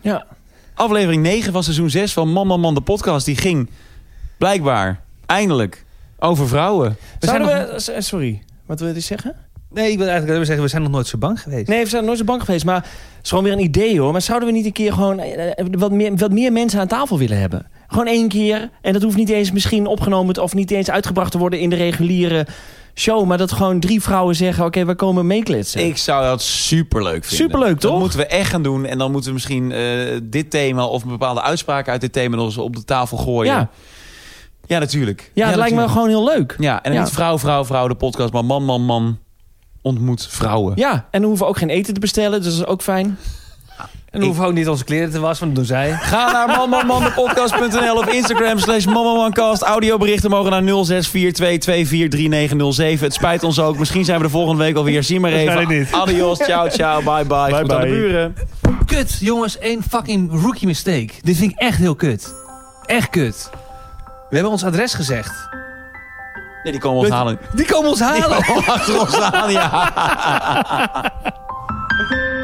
Ja. Aflevering 9 van seizoen 6 van Man Man Man de podcast. Die ging blijkbaar eindelijk over vrouwen. We Zouden zijn we, eh, Sorry, wat wil je zeggen? Nee, ik wil eigenlijk alleen maar zeggen, we zijn nog nooit zo bang geweest. Nee, we zijn nooit zo bang geweest. Maar het is gewoon weer een idee hoor. Maar zouden we niet een keer gewoon eh, eh, wat meer, wat meer mensen aan tafel willen hebben? Gewoon één keer. En dat hoeft niet eens misschien opgenomen te- of niet eens uitgebracht te worden in de reguliere show. Maar dat gewoon drie vrouwen zeggen: Oké, we komen meekletsen. Ik zou dat superleuk vinden. Superleuk, Dat toch? moeten we echt gaan doen. En dan moeten we misschien eh, dit thema of een bepaalde uitspraak uit dit thema nog eens op de tafel gooien. ja, ja natuurlijk. ja, het lijkt me natuurlijk. gewoon heel leuk. Ja. Ja, en dan Ja. niet vrouw, vrouw, vrouw de podcast, maar man, man, man ontmoet vrouwen. en dan hoeven we ook geen eten te bestellen. Dus dat is ook fijn. Ah, En we hoeven ook niet onze kleren te wassen, want dat doen zij. Ga naar manmanmandepodcast.nl of Instagram slash manmanmancast. Audioberichten mogen naar 0642243907. Het spijt ons ook. Misschien zijn we de volgende week alweer. Zie maar even. Adios, ciao, ciao, bye bye. Goed aan de buren. Kut, jongens, één fucking rookie mistake. Dit vind ik echt heel kut. Echt kut. We hebben ons adres gezegd. Nee, die komen ons halen. Die komen ons halen. Achter ons aan, ja.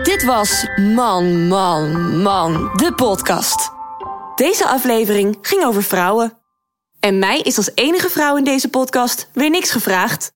Dit was Man, Man, Man, de podcast. Deze aflevering ging over vrouwen. En mij is als enige vrouw in deze podcast weer niks gevraagd.